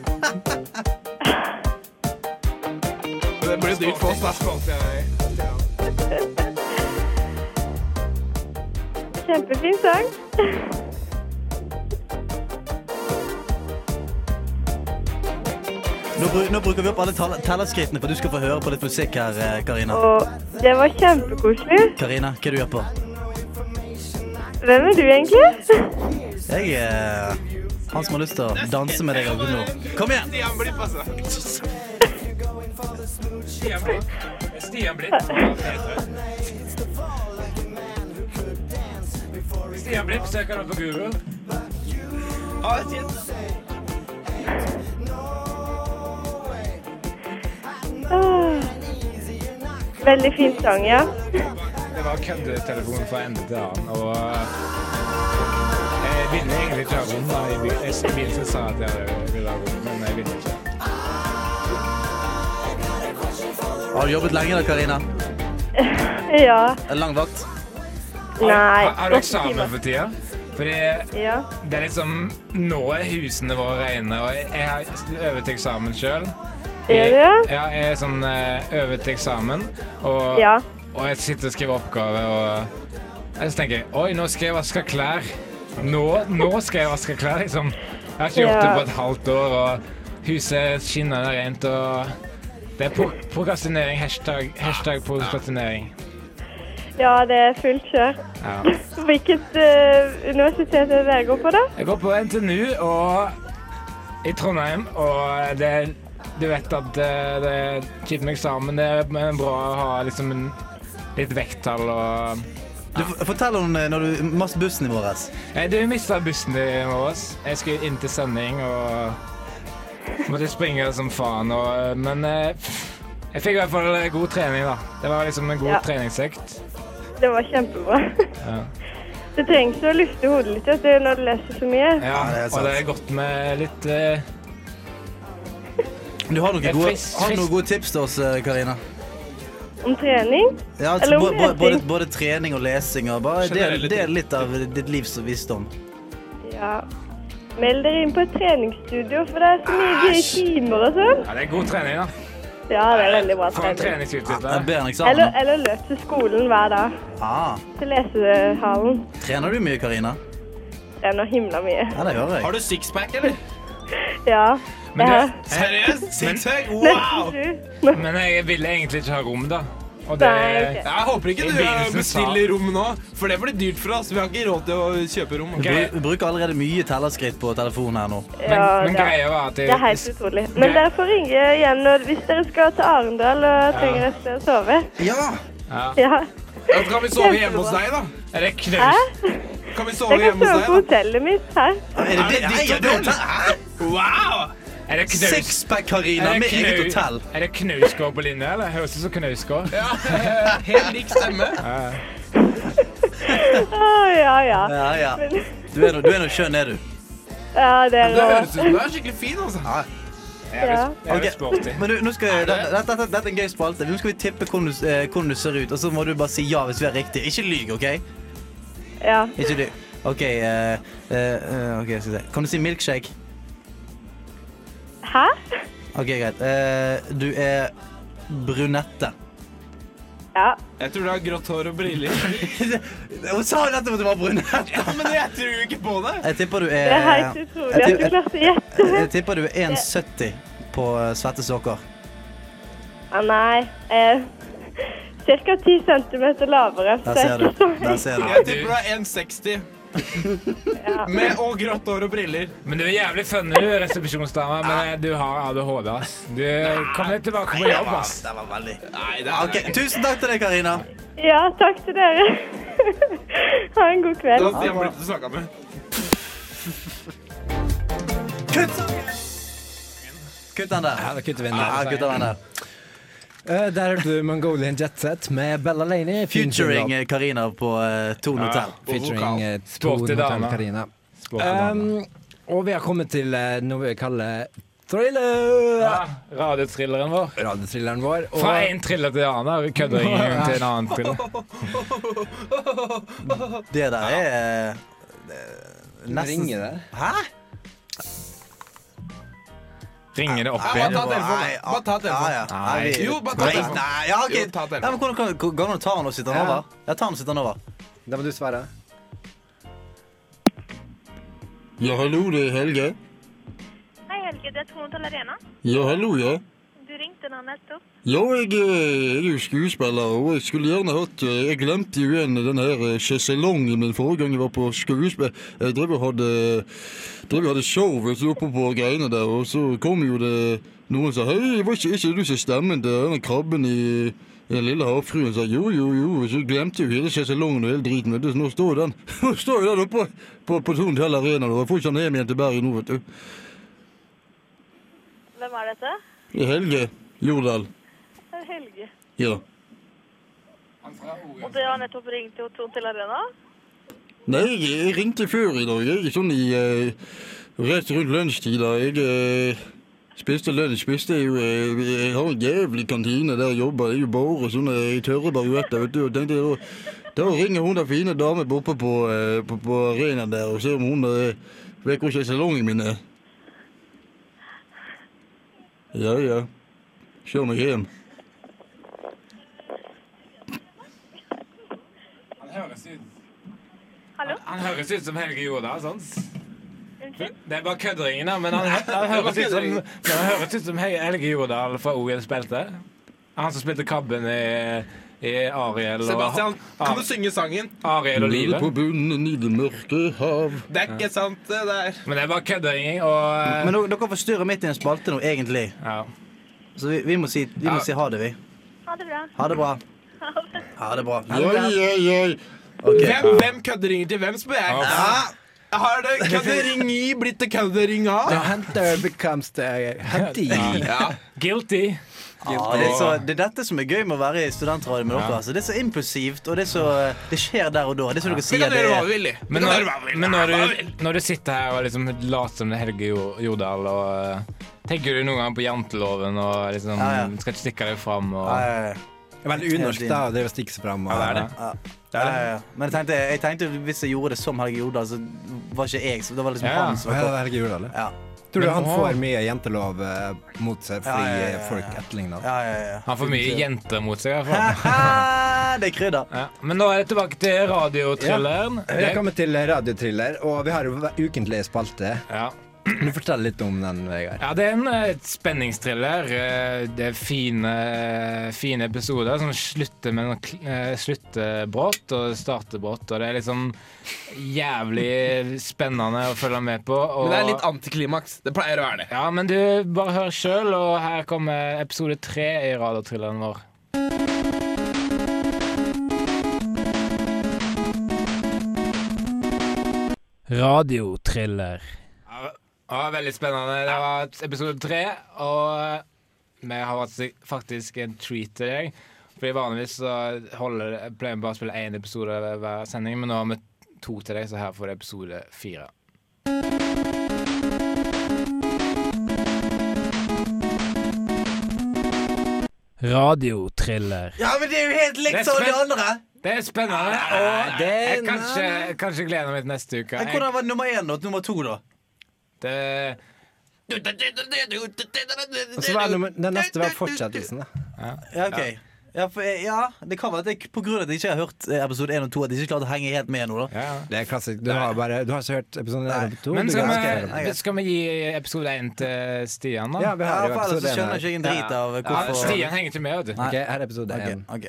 A: det blir dyrt for oss, da.
I: Kjempefin sang.
D: Nå, bru- nå bruker vi opp alle tall- tellerskrittene, for du skal få høre på litt musikk her, eh, Karina.
I: Og det var kjempekoselig.
D: Karina, hva du gjør på?
I: Hvem er du egentlig?
D: Jeg er han som har lyst til å danse med deg akkurat nå. Kom igjen!
K: Stian Blipp, altså. Stian Blipp. Stian Blipp. Stian Blipp søker du på Google.
I: Åh. Ah. Veldig fin sang, ja.
C: Det var køddetelefon fra ende til annen, og eh, jeg ville egentlig ikke ha rom. da. Jeg be- jeg begynnelsen sa at jeg ville ha rom, men jeg ville ikke.
D: Har du jobbet lenge da, Karina?
I: Ja.
D: En lang vakt?
I: Nei.
C: Har, har du eksamen for tida? Fordi
I: Ja.
C: det er liksom Nå er husene våre rene, og jeg- jeg har øvd til eksamen sjøl.
I: Er du?
C: Ja, jeg er sånn eh, øvd til eksamen, og,
I: Ja.
C: og jeg sitter og skriver oppgave, og jeg så tenker jeg, Oi, nå skal jeg vaske klær. Nå, nå skal jeg vaske klær, liksom. Jeg har ikke gjort det
I: Ja.
C: på et halvt år, og huset er skinnende rent, og det er pro prokrastinering. Hashtag, hashtag prokrastinering.
I: ja, det er fullt kjør.
C: Ja.
I: Hvilket eh, universitet er det dere går på, da?
C: Jeg går på NTNU og i Trondheim, og det Du vet at eh, det, det er kjipt med eksamen, det er men bra å ha liksom en, litt vekttall og
D: Du, f- fortell om eh, når du mast bussen i våres.
C: Nei, Eh, Du mista bussen i morges. Jeg skulle inn til sending og måtte springe som faen. Og, men eh, jeg fikk i hvert fall eh, god trening, da. Det var liksom en god
I: Ja.
C: treningsøkt.
I: Det var kjempebra.
C: Ja.
I: Det trengs å lufte hodet litt vet du, når du leser så mye.
C: Ja,
D: det er
C: og
D: sant.
C: det er godt med litt eh,
D: Du har noen
C: Jeg
D: gode,
C: frist-
D: har du noen
C: frist-
D: gode tips til oss, eh, Karina?
I: Om trening.
D: Ja, altså,
I: Eller om
D: bo- bo-
I: lesing.
D: både, både trening og lesing og bare del,
A: Generelle
D: del litt av ditt livs visdom.
I: Ja. Meld dere inn på et treningsstudio, for det er så mye gøye timer og sånn.
C: Ja, det er god trening, da.
I: Ja, det er veldig bra
C: For en
I: trening.
C: treningsutbytte.
D: Jeg ber en
I: Eller,
D: eksamen.
I: eller løp til skolen hver dag.
D: Ah,
I: Til lesehallen.
D: trener du mye, Karina?
I: Det er nå himla mye.
D: Ja, det hører jeg.
A: Har du sixpack, eller?
I: Ja.
C: Men
I: Jeg har
C: du-
A: Seriøst? Sixpack?
I: nesten
A: Wow!
I: sju.
C: Men jeg ville egentlig ikke ha rom, da. Og
I: Nei, ok.
A: Jeg håper ikke
C: I
A: du eh,
C: begynnelsen
A: bestiller rom nå, for det blir dyrt for oss. Vi har ikke råd til å kjøpe rom.
C: Gøy.
D: Vi bruker allerede mye tellerskritt på telefonen her nå.
C: Men,
I: Ja,
C: men
I: det er-
C: greia var at jeg,
I: Det er
A: Eh,
I: helt utrolig. Men
C: Greit.
I: dere får ringe igjen når, hvis dere skal til Arendal og trenger et sted å sove.
D: Ja!
I: Ja.
A: Ja, kan vi sove hjemme hos deg, da?
C: Er det
I: Hæ?
C: knaust?
A: Kan vi
I: Jeg
A: sove
I: kan
A: hjemme
I: sove på
A: hos deg,
I: hotellet mitt her.
D: Er det det? Nei, er det hotell? Hæ?
A: Wow!
C: Er det knaust?
D: Sixpack,
C: Er
D: Karina,
C: det
D: med eget
C: knaus-
D: hotell.
C: Er det knausgård på linje, eller? Høres ut som knausgård.
A: Ja, helt lik stemme.
I: Å, ja, ja.
D: Ja, ja.
I: Men,
D: Du er nå- du er nå skjønn, er du.
I: ja, det er
A: Det
I: rå.
A: høres ut som du er skikkelig fin, altså.
C: Det er
I: Ja.
C: jo- det er jo
D: Ok,
C: sporty.
D: Men du, nå skal jeg, dette, dette, dette, er en gøy spalte. Nå skal vi tippe hvordan du, eh, hvordan du ser ut, og så må du bare si ja hvis vi er riktig. Ikke lyg, OK?
I: Ja.
D: Ikke lyg. OK, eh, eh, eh, ok, skal vi se. Kan du si milkshake?
I: Hæ?
D: OK, greit. Eh, du er brunette.
I: Ja.
A: Jeg tror du har grått hår og briller.
D: Hun sa jo nettopp at du var brunette.
A: Men jeg tror ikke på det.
D: Jeg tipper du
I: Det
D: er
I: er helt utrolig at du klarte å gjette.
D: jeg, jeg tipper du er 1,70 på eh, svette sokker.
I: Ja, nei. Eh, cirka 10 centimeter lavere.
D: Der ser du. Der ser du.
A: Jeg tipper du er 1,60. Med og grått hår og briller.
C: Men du er jævlig funny, du, resepsjonsdama, men eh, du har ADHD, ass. Du kom deg tilbake på jobb, ass.
D: Det var veldig
A: Nei, det
D: Ok, Tusen takk til deg, Karina.
I: Ja, takk til dere. Ha en god
A: Det
I: kveld.
A: var Stian Blipp du snakket med.
D: Kutt! Kutt den der.
B: Ja, da kutter vi den der.
D: Ja, kutt den der.
B: Eh, der hørte du Mongolian Jet Set med Bella Laney.
D: Featuring eh, Karina på uh, Tone Hotel.
B: Featuring eh, Tone
C: Sporty
B: Hotel
C: dame.
B: Karina.
C: Sporty dame.
B: Um, og vi har kommet til eh, noe vi kaller thriller.
C: Ja, Radiotrilleren vår.
B: Radiothrilleren vår.
C: Fra en thriller til en annen. Vi kødder ingen gang til en annen thriller.
D: Det der er eh,
B: Nå ringer det.
D: Hæ?
C: Ringer det opp
L: Ja,
C: igjen?
L: bare ta telefonen.
D: Nei,
L: Bare ta telefonen.
D: Ja, ja. Nei, vi-
L: Jo, bare ta
D: Nei,
L: telefonen.
D: Nei, ja, ok.
A: Jo, ta telefonen.
D: Ja, men hvordan kan- Går det an å ta den og sitte den
B: Ja.
D: over? Ja, ta den og sitte den over.
B: Da må du svare.
F: Ja, hallo, det er Helge.
I: Hei, Helge. Det er Tone Tall Arena.
F: Ja, hallo, ja.
I: Du ringte nå nettopp.
F: Ja, jeg, eh, jeg er jo skuespiller, og jeg skulle gjerne hatt eh, Jeg glemte jo igjen den her eh, sjeselongen min forrige gang jeg var på skuespill... Jeg drev og hadde, drev og hadde show vet du, oppe på greiene der, og så kom jo det noen som sa Hei, var ikke, ikke du som stemmen til den krabben i den lille havfruen sa jo, jo, jo, og så glemte jeg jo hele sjeselongen og hele driten. Vet du. Så nå står den Nå står jo den oppe på, på Thon Tell Arena, og jeg får ikke han hjem igjen til Bergen nå, vet du.
I: Hvem er dette?
F: Det er Helge Jordal.
I: Det er Helge.
F: Ja.
I: Og du har nettopp ringt til Tone Tall Arena?
F: Nei, jeg jeg ringte før i dag. Jeg er sånn i eh, Rett rundt lunsjtid. da. Jeg eh, spiste lunsj. spiste jo, eh, Jeg har en jævlig kantine der jeg jobber. Det er jo bare sånne tørre baruetter. vet du. Og tenkte jeg, da- Da ringer hun den fine dame borte på, eh, på, på arenaen der og ser om hun eh, vet hvor sjeselongene mine er. Ja, ja. Kjør meg hjem.
C: Han høres ut,
I: Hallo?
C: han høres ut som Helge Jordal, sant?
I: Unnskyld?
C: Det er bare kødderingen, da, men han, han, høres, ut som, men han høres ut som Hel- Helge Jordal fra OL spilte. Han som spilte Krabben i, i Ariel og
A: Sebastian, kan du synge sangen?
C: Ariel og
F: Nede
C: livet.
F: på bunnen i det mørke hav.
A: Det er ikke sant, eh, det der.
C: Men det er bare køddering og eh,
D: Men dere- dere forstyrrer midt i en spalte nå, egentlig.
C: ja.
D: Så vi, vi, må, si, vi må si ha det, vi.
I: Ha det bra.
D: Ha det bra. Ha det bra.
F: Ja, ja, ja.
D: Ok.
A: Hvem, hvem kødderinger til hvem, spør jeg. Ja. Har det køddering i blitt til køddering av?
B: The hunter becomes the eh, hunty.
C: Guilty.
D: Ja, det, er så, det er dette som er gøy med å være i studentradioen med dere. Altså. Det er så impulsivt, og det, er så, det skjer der og da. Det er som dere
A: Vi
D: sier,
A: kan
D: det
A: gjøre hva
D: er
A: vi vil. i. Vi
C: Men
A: kan
C: når,
A: gjøre hva vi vil.
C: men når,
A: Hva vi
C: du,
A: vil.
C: når du sitter her og liksom later som det er Helge Jo- Jordal og eh, Tenker du noen gang på janteloven og liksom
D: Ja, ja.
C: skal ikke stikke deg fram og
D: Ja, ja, ja.
B: Veldig unorsk, da. Det er å stikke seg fram. Og,
C: det er det.
D: Ja, ja, ja. Men jeg tenkte, jeg tenkte hvis jeg gjorde det som Helge Jordal, så var ikke jeg så Det var liksom
C: Ja, ja.
D: han som
B: Å,
D: var
B: ja, det
D: kopp.
B: er Helge Jordal. ja.
D: Ja.
B: Tror du
C: Men
B: han
C: hva?
B: får mye jentelov eh, mot seg fordi
D: Ja, ja, ja,
B: eh,
D: ja.
B: folk etterligner det?
D: Ja, ja, ja.
C: Han får mye jenter mot seg. i hvert fall.
D: Haha, Det er krydder.
C: Ja. Men nå er det tilbake til radiotrilleren.
B: Vi har kommet til radiotriller, og vi har jo hver ukentlig spalte.
C: Ja.
B: Kan du fortelle litt om den, Vegard?
C: Ja, det er en eh, spenningsthriller. Eh, Det er fine, fine episoder som slutter, med noe, kl- eh, slutter brått og starter brått. Og det er liksom jævlig spennende å følge med på. Og,
A: Men det er litt antiklimaks. Det pleier å være det.
C: Ja, men du, bare hør sjøl, og her kommer episode tre i radiothrilleren vår. Radiotriller. Ja, ja, veldig spennende. Det var episode tre, og vi har hatt faktisk en treat til deg. Fordi vanligvis så holder, pleier vi bare å spille én episode hver sending, men nå har vi to til deg, så her får du episode fire. Radiotriller.
D: Ja, men det er jo helt
C: Det er
D: likt som det
C: spent.
D: andre.
C: Det er spennende, og
B: det er
C: jeg kanskje, kanskje gleder meg til neste uke.
D: Men
C: Jeg,
D: hvordan var nummer én og nummer to, da?
C: det,
B: Og så var det nummer- Den neste var fortsettelsen, da.
D: Ja, ok. Ja, for, jeg- ja, det kan være at jeg på grunn av at jeg ikke har hørt eh, episode én og to, at jeg ikke klarte å henge helt med nå, da.
C: ja. ja.
B: Det er klassisk. Du har, bare, du har ikke hørt episoden
D: Nei.
B: 1 og 2?
C: Men
B: du
C: skal
B: kan ikke høre den.
C: vi, skal vi gi episode én til Stian, da?
B: Ja, vi
D: Ja,
B: har jo
D: for ellers
B: episode
D: så
B: 1
D: skjønner jeg
B: her.
D: ikke en drit av
C: Ja,
D: hvorfor
C: Stian henger ikke med, vet du.
B: Ok, her er episode
D: Ok,
B: 1.
D: ok.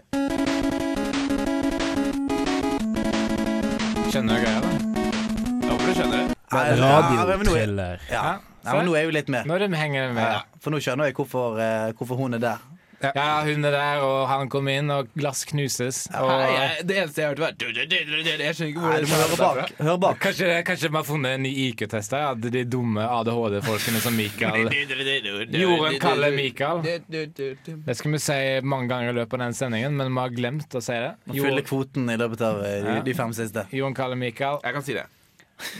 C: Skjønner du greia, da?
A: Håper du skjønner det.
D: Nei, ja, men nå er- Ja.
C: Ja.
D: Nei, men nå er jeg jo litt med.
C: Nå er det vi henger med.
D: Ja, for nå skjønner jeg hvorfor, eh, hvorfor hun er der.
C: Ja, hun er der, og han kommer inn, og glass knuses.
A: Nei,
C: Og
A: jeg, det eneste jeg hørte, var du, du, du, du, du. Jeg skjønner ikke hvor
D: Nei, du
A: det
D: må høre bak. Hør bak.
C: kanskje, kanskje vi har funnet en ny IQ-test der? At de dumme ADHD-folkene som Mikael Jorunn kaller Mikael. Det skal vi si mange ganger i løpet av den sendingen, men vi har glemt å si det.
D: Fylle kvoten i løpet av eh, de, de fem siste.
C: Jon Kalle Mikael.
A: Jeg kan si det.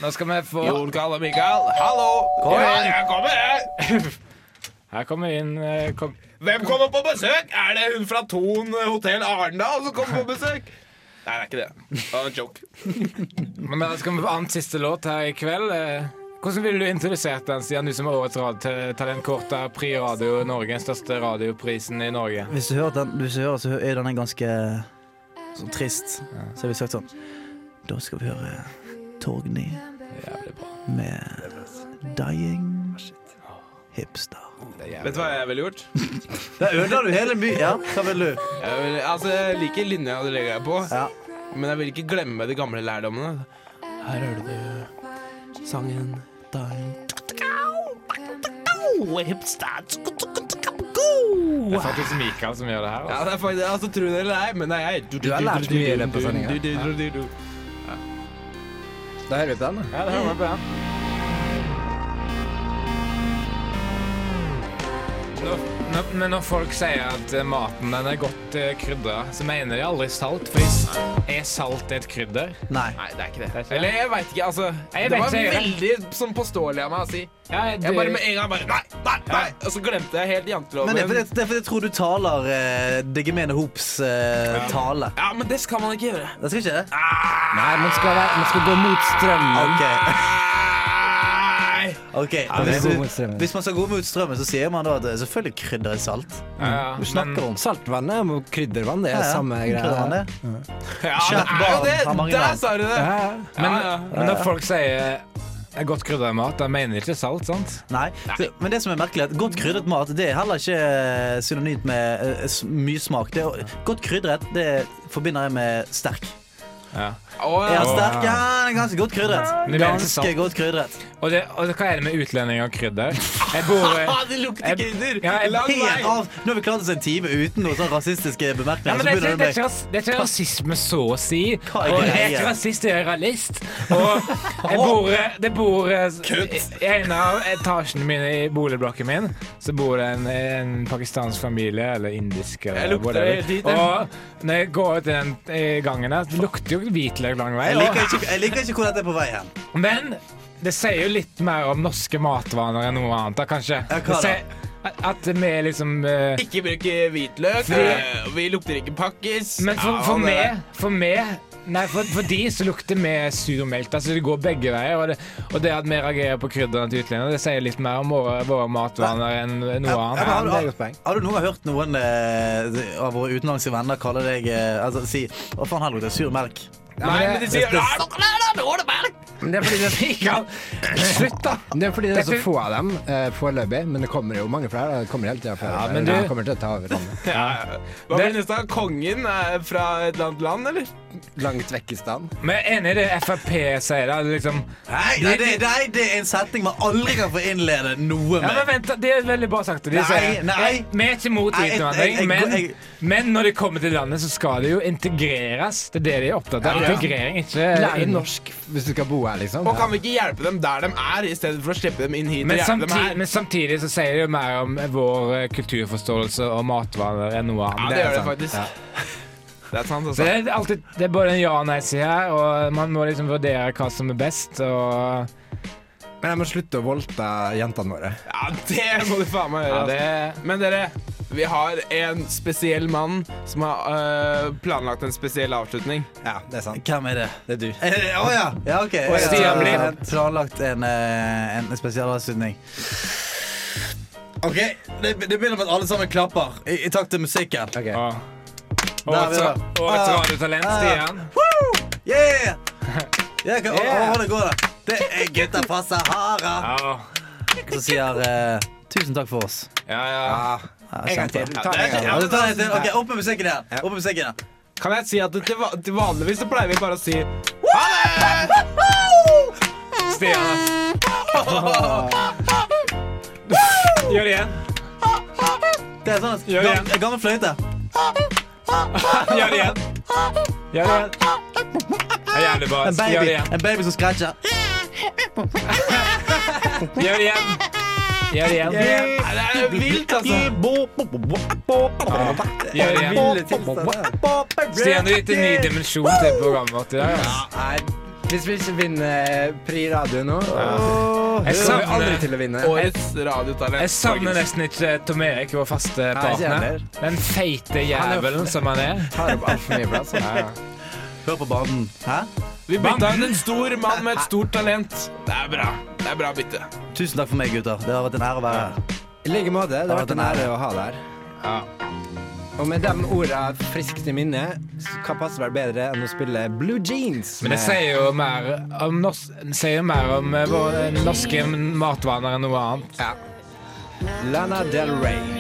C: Nå skal vi få
A: Jon Kalle Mikael, hallo!
D: Kom
A: Ja,
D: igjen.
A: jeg kommer, jeg!
C: Her kommer inn eh, kom.
A: Hvem kommer på besøk? Er det hun fra Thon hotell Arendal som kommer på besøk? Nei, det er ikke det. Det var en joke.
C: Men da skal vi få annen siste låt her i kveld. eh, Hvordan ville du introdusert den, Stian, du som er årets rad- eh, talentkort av Pri Radio Norge, den største radioprisen i Norge?
D: Hvis du hører den, hvis du hører, så er den ganske sånn trist. Så har vi sagt sånn Da skal vi høre Torgny med Dying Hipster.
A: Vet du hva jeg ville gjort?
D: Der ødela du hele byen. Ja, hva vil du?
A: Jeg, vil, altså, jeg liker linja du legger deg på,
D: Ja.
A: men jeg vil ikke glemme de gamle lærdommene. Her hører du sangen Dying
C: Det er faktisk Mikael som gjør det her.
A: Ja,
C: Altså.
A: det er faktisk, altså, tro det eller ei, men det er jeg.
B: Du har lært mye i løpet av sendingen.
A: sendinga.
B: Da hører vi på den, da.
C: Ja, det hører vi på, ja. Når, når, men når folk sier at eh, maten den er godt eh, krydra, så mener de aldri salt. For is- er salt et krydder?
D: Nei.
A: Nei, det er ikke det. Eller jeg veit ikke, altså.
C: Jeg
A: det
C: vet
A: var
C: ikke, jeg
A: veldig sånn påståelig av meg å si.
C: Ja,
A: Jeg bare med en gang bare Nei, nei, nei! Og så glemte jeg helt janteloven.
D: Men det er fordi, det er fordi jeg tror du taler eh, det gemene hops eh, tale.
A: Ja, men det skal man ikke gjøre.
D: Det skal ikke det?
B: Nei, man skal, være, man skal gå mot strømmen.
D: OK.
A: Nei!
D: ok.
B: det er
D: Hvis,
B: god mot
D: du,
B: strømmen.
D: hvis man skal gå mot strømmen, så sier man da at eh, selvfølgelig krydder er salt.
C: Ja, ja.
B: Du snakker om saltvannet og kryddervann, det er samme
D: Krydder
B: greia.
D: er det.
A: Ja, det er
D: Kjært
A: jo
D: barn har
A: det!
D: mange
A: Der
D: navn.
A: sa du det!
B: Ja, ja.
C: Men, eh,
A: Ja, ja.
C: men når folk sier eh, godt krydra mat, da mener de ikke salt, sant?
D: Nei. Så- Men det som er merkelig, er at godt krydret mat det er heller ikke eh, synonymt med eh, s- mye smak. Det er, godt krydret det forbinder jeg med sterk.
A: Å,
D: Er
A: ja.
D: han sterk? Ja, han er ganske godt krydret.
C: Men det er ikke
D: Ganske
C: salt.
D: godt krydret.
C: Og, det, og hva er det med utlendinger og krydder? Jeg bor eh,
A: Ah, det lukter
C: Jeg-
A: krydder!
C: Ja, jeg-
A: Lang
D: Helt
A: vei!
D: av. Nå har vi klart oss en time uten noen sånn rasistiske
C: ja,
D: bemerkninger.
C: men
D: så
C: det, er
D: begynner
C: ikke, det, er
D: du med
C: ikke, ras- det er ikke rasisme, så å si.
D: Hva er
C: Og jeg er
D: greia?
C: ikke rasist, jeg er realist. Og jeg bor, eh, det bor eh, I en av etasjene mine i boligblokken min så bor det en, en pakistansk familie, eller indisk eller
A: Jeg lukter
C: whatever.
A: helt dit, jeg.
C: Og når jeg går ut i den eh, gangen der, det lukter jo hvitløk lang vei.
D: Jeg
C: og-
D: liker, ikke, jeg liker ikke hvor dette er på vei hen.
C: Men det sier jo litt mer om norske matvaner enn noe annet, da, kanskje.
D: Ja, hva da?
C: Det sier- at vi er liksom eh,
A: Ikke bruke hvitløk.
C: Fordi-
A: eh, Vi lukter ikke pakkis.
C: Men for,
A: Ja,
C: for
A: det-
C: meg For meg Nei, for, for de så lukter vi surmelk. Altså, det går begge veier. Og det, og det at vi reagerer på krydderne til utlendinger, det sier litt mer om våre, våre matvaner enn noe
D: Ja, men
C: annet.
D: har, du,
B: det er et godt poeng.
D: har, har du noen gang hørt noen eh, av våre utenlandske venner kalle deg eh, altså, si Å, faen, her lukter det sur melk.
A: Nei, men de sier
D: det-
A: «Nei, nå- nei, nei, nå er det bare-
C: Men det er fordi det er Slutt, da!
B: Det er fordi det er så
C: Dette-
B: få av dem eh, foreløpig, men det kommer jo mange flere. og Det kommer hele tida flere.
C: Ja,
B: og flere,
C: men
B: og
C: du-
B: det kommer til å ta over landet.
A: Hva blir neste? gang? Kongen er fra et eller annet land, eller?
B: Langt vekk i stand.
C: Men jeg er enig i det Frp sier, da. Liksom
D: Nei, nei, det, nei, det er en setning man aldri kan få innlede noe
C: Ja, men
D: med.
C: vent, da, Det er veldig bra sagt. De
D: Nei,
C: sier,
D: nei.
C: Vi er ikke mot
D: Nei, jeg- jeg-
C: hvitvandring,
D: jeg-
C: men,
D: jeg-
C: men når de kommer til landet, så skal de jo integreres. Det er det de er opptatt av. Integrering, ikke
B: Lære norsk hvis du skal bo her, liksom.
A: Og kan vi ikke hjelpe dem der de er, i stedet for å slippe dem inn hit?
C: Men
A: og hjelpe dem her?
C: samtidig, men samtidig så sier det jo mer om vår eh, kulturforståelse og matvaner enn noe
A: Ja,
C: annet.
A: det gjør det
C: sant.
A: faktisk. Det er sant,
C: Så
A: altså.
C: det er alltid det er både en ja- og nei-side her, og man må liksom vurdere hva som er best. Og
B: Men jeg må slutte å voldta jentene våre.
A: Ja, det må du faen meg gjøre.
C: ja, det,
A: altså. Men dere, vi har en spesiell mann som har øh, planlagt en spesiell avslutning.
B: Ja, det er sant.
D: Hvem er det?
B: Det er du.
D: Eh, Å ja. ja, OK. Jeg har
C: Stian Blipp.
D: Planlagt en, eh, en spesialavslutning. OK, det, det begynner med at alle sammen klapper i, i takt til musikken.
B: Ok.
C: og,
D: Der
C: årets,
D: er vi da.
C: årets
D: Ah.
C: radiotalent,
D: Ah.
C: Stian.
D: Yeah! Jeg kan,
C: Yeah.
D: Å, å, det går, da. Det er gutta fra Sahara.
C: Ja,
D: Som sier eh, tusen takk for oss.
C: ja. ja.
D: Ja,
C: En gang til.
D: kjempe.
C: Ta en gang til.
D: Ja, du tar en til. Ok, opp med musikken igjen. Opp med musikken igjen.
A: altså, Kan jeg si at til, va- til vanligvis så pleier vi bare å si altså.
C: Stian. Gjør det igjen.
D: Det er sånn
C: Gjør det igjen.
D: gammel, gammel fløyte.
C: Gjør det igjen. Gjør det igjen. Det er jævlig bra. Gjør
D: En
C: det
D: baby,
C: igjen.
D: en baby som scratcher.
C: Gjør det igjen. Gjør det igjen.
A: Nei, Det er vilt, altså.
C: Gjør det igjen. Stian, du er gitt en ny dimensjon til programmet vårt i dag. ass.
B: Nei, hvis vi ikke vinner eh, Pri Radio nå åh, Det kommer
C: Jeg
B: vi
C: savner-
B: aldri til å vinne.
A: Årets radiotalent.
C: Jeg savner nesten ikke Tom Erik, vår faste
B: ikke jeg
C: partner.
B: heller.
C: Den feite jævelen som han er.
B: Tar opp alt for mye plass.
C: Ja, ja.
D: Hør på banen. Hæ?
A: Vi bytta ut en stor mann med et stort talent. Det er bra. Det er bra bytte.
D: Tusen takk for meg, gutter. Det har vært en ære å være her.
B: I like måte. Det har vært en ære å ha deg her.
C: Ja.
B: Og med de orda friskt i minne, så hva passer vel bedre enn å spille Blue Jeans?
C: Men det
B: med-
C: sier jo mer om, nors det sier jo mer om eh, våre norske matvaner enn noe annet.
B: Lana Del Rey.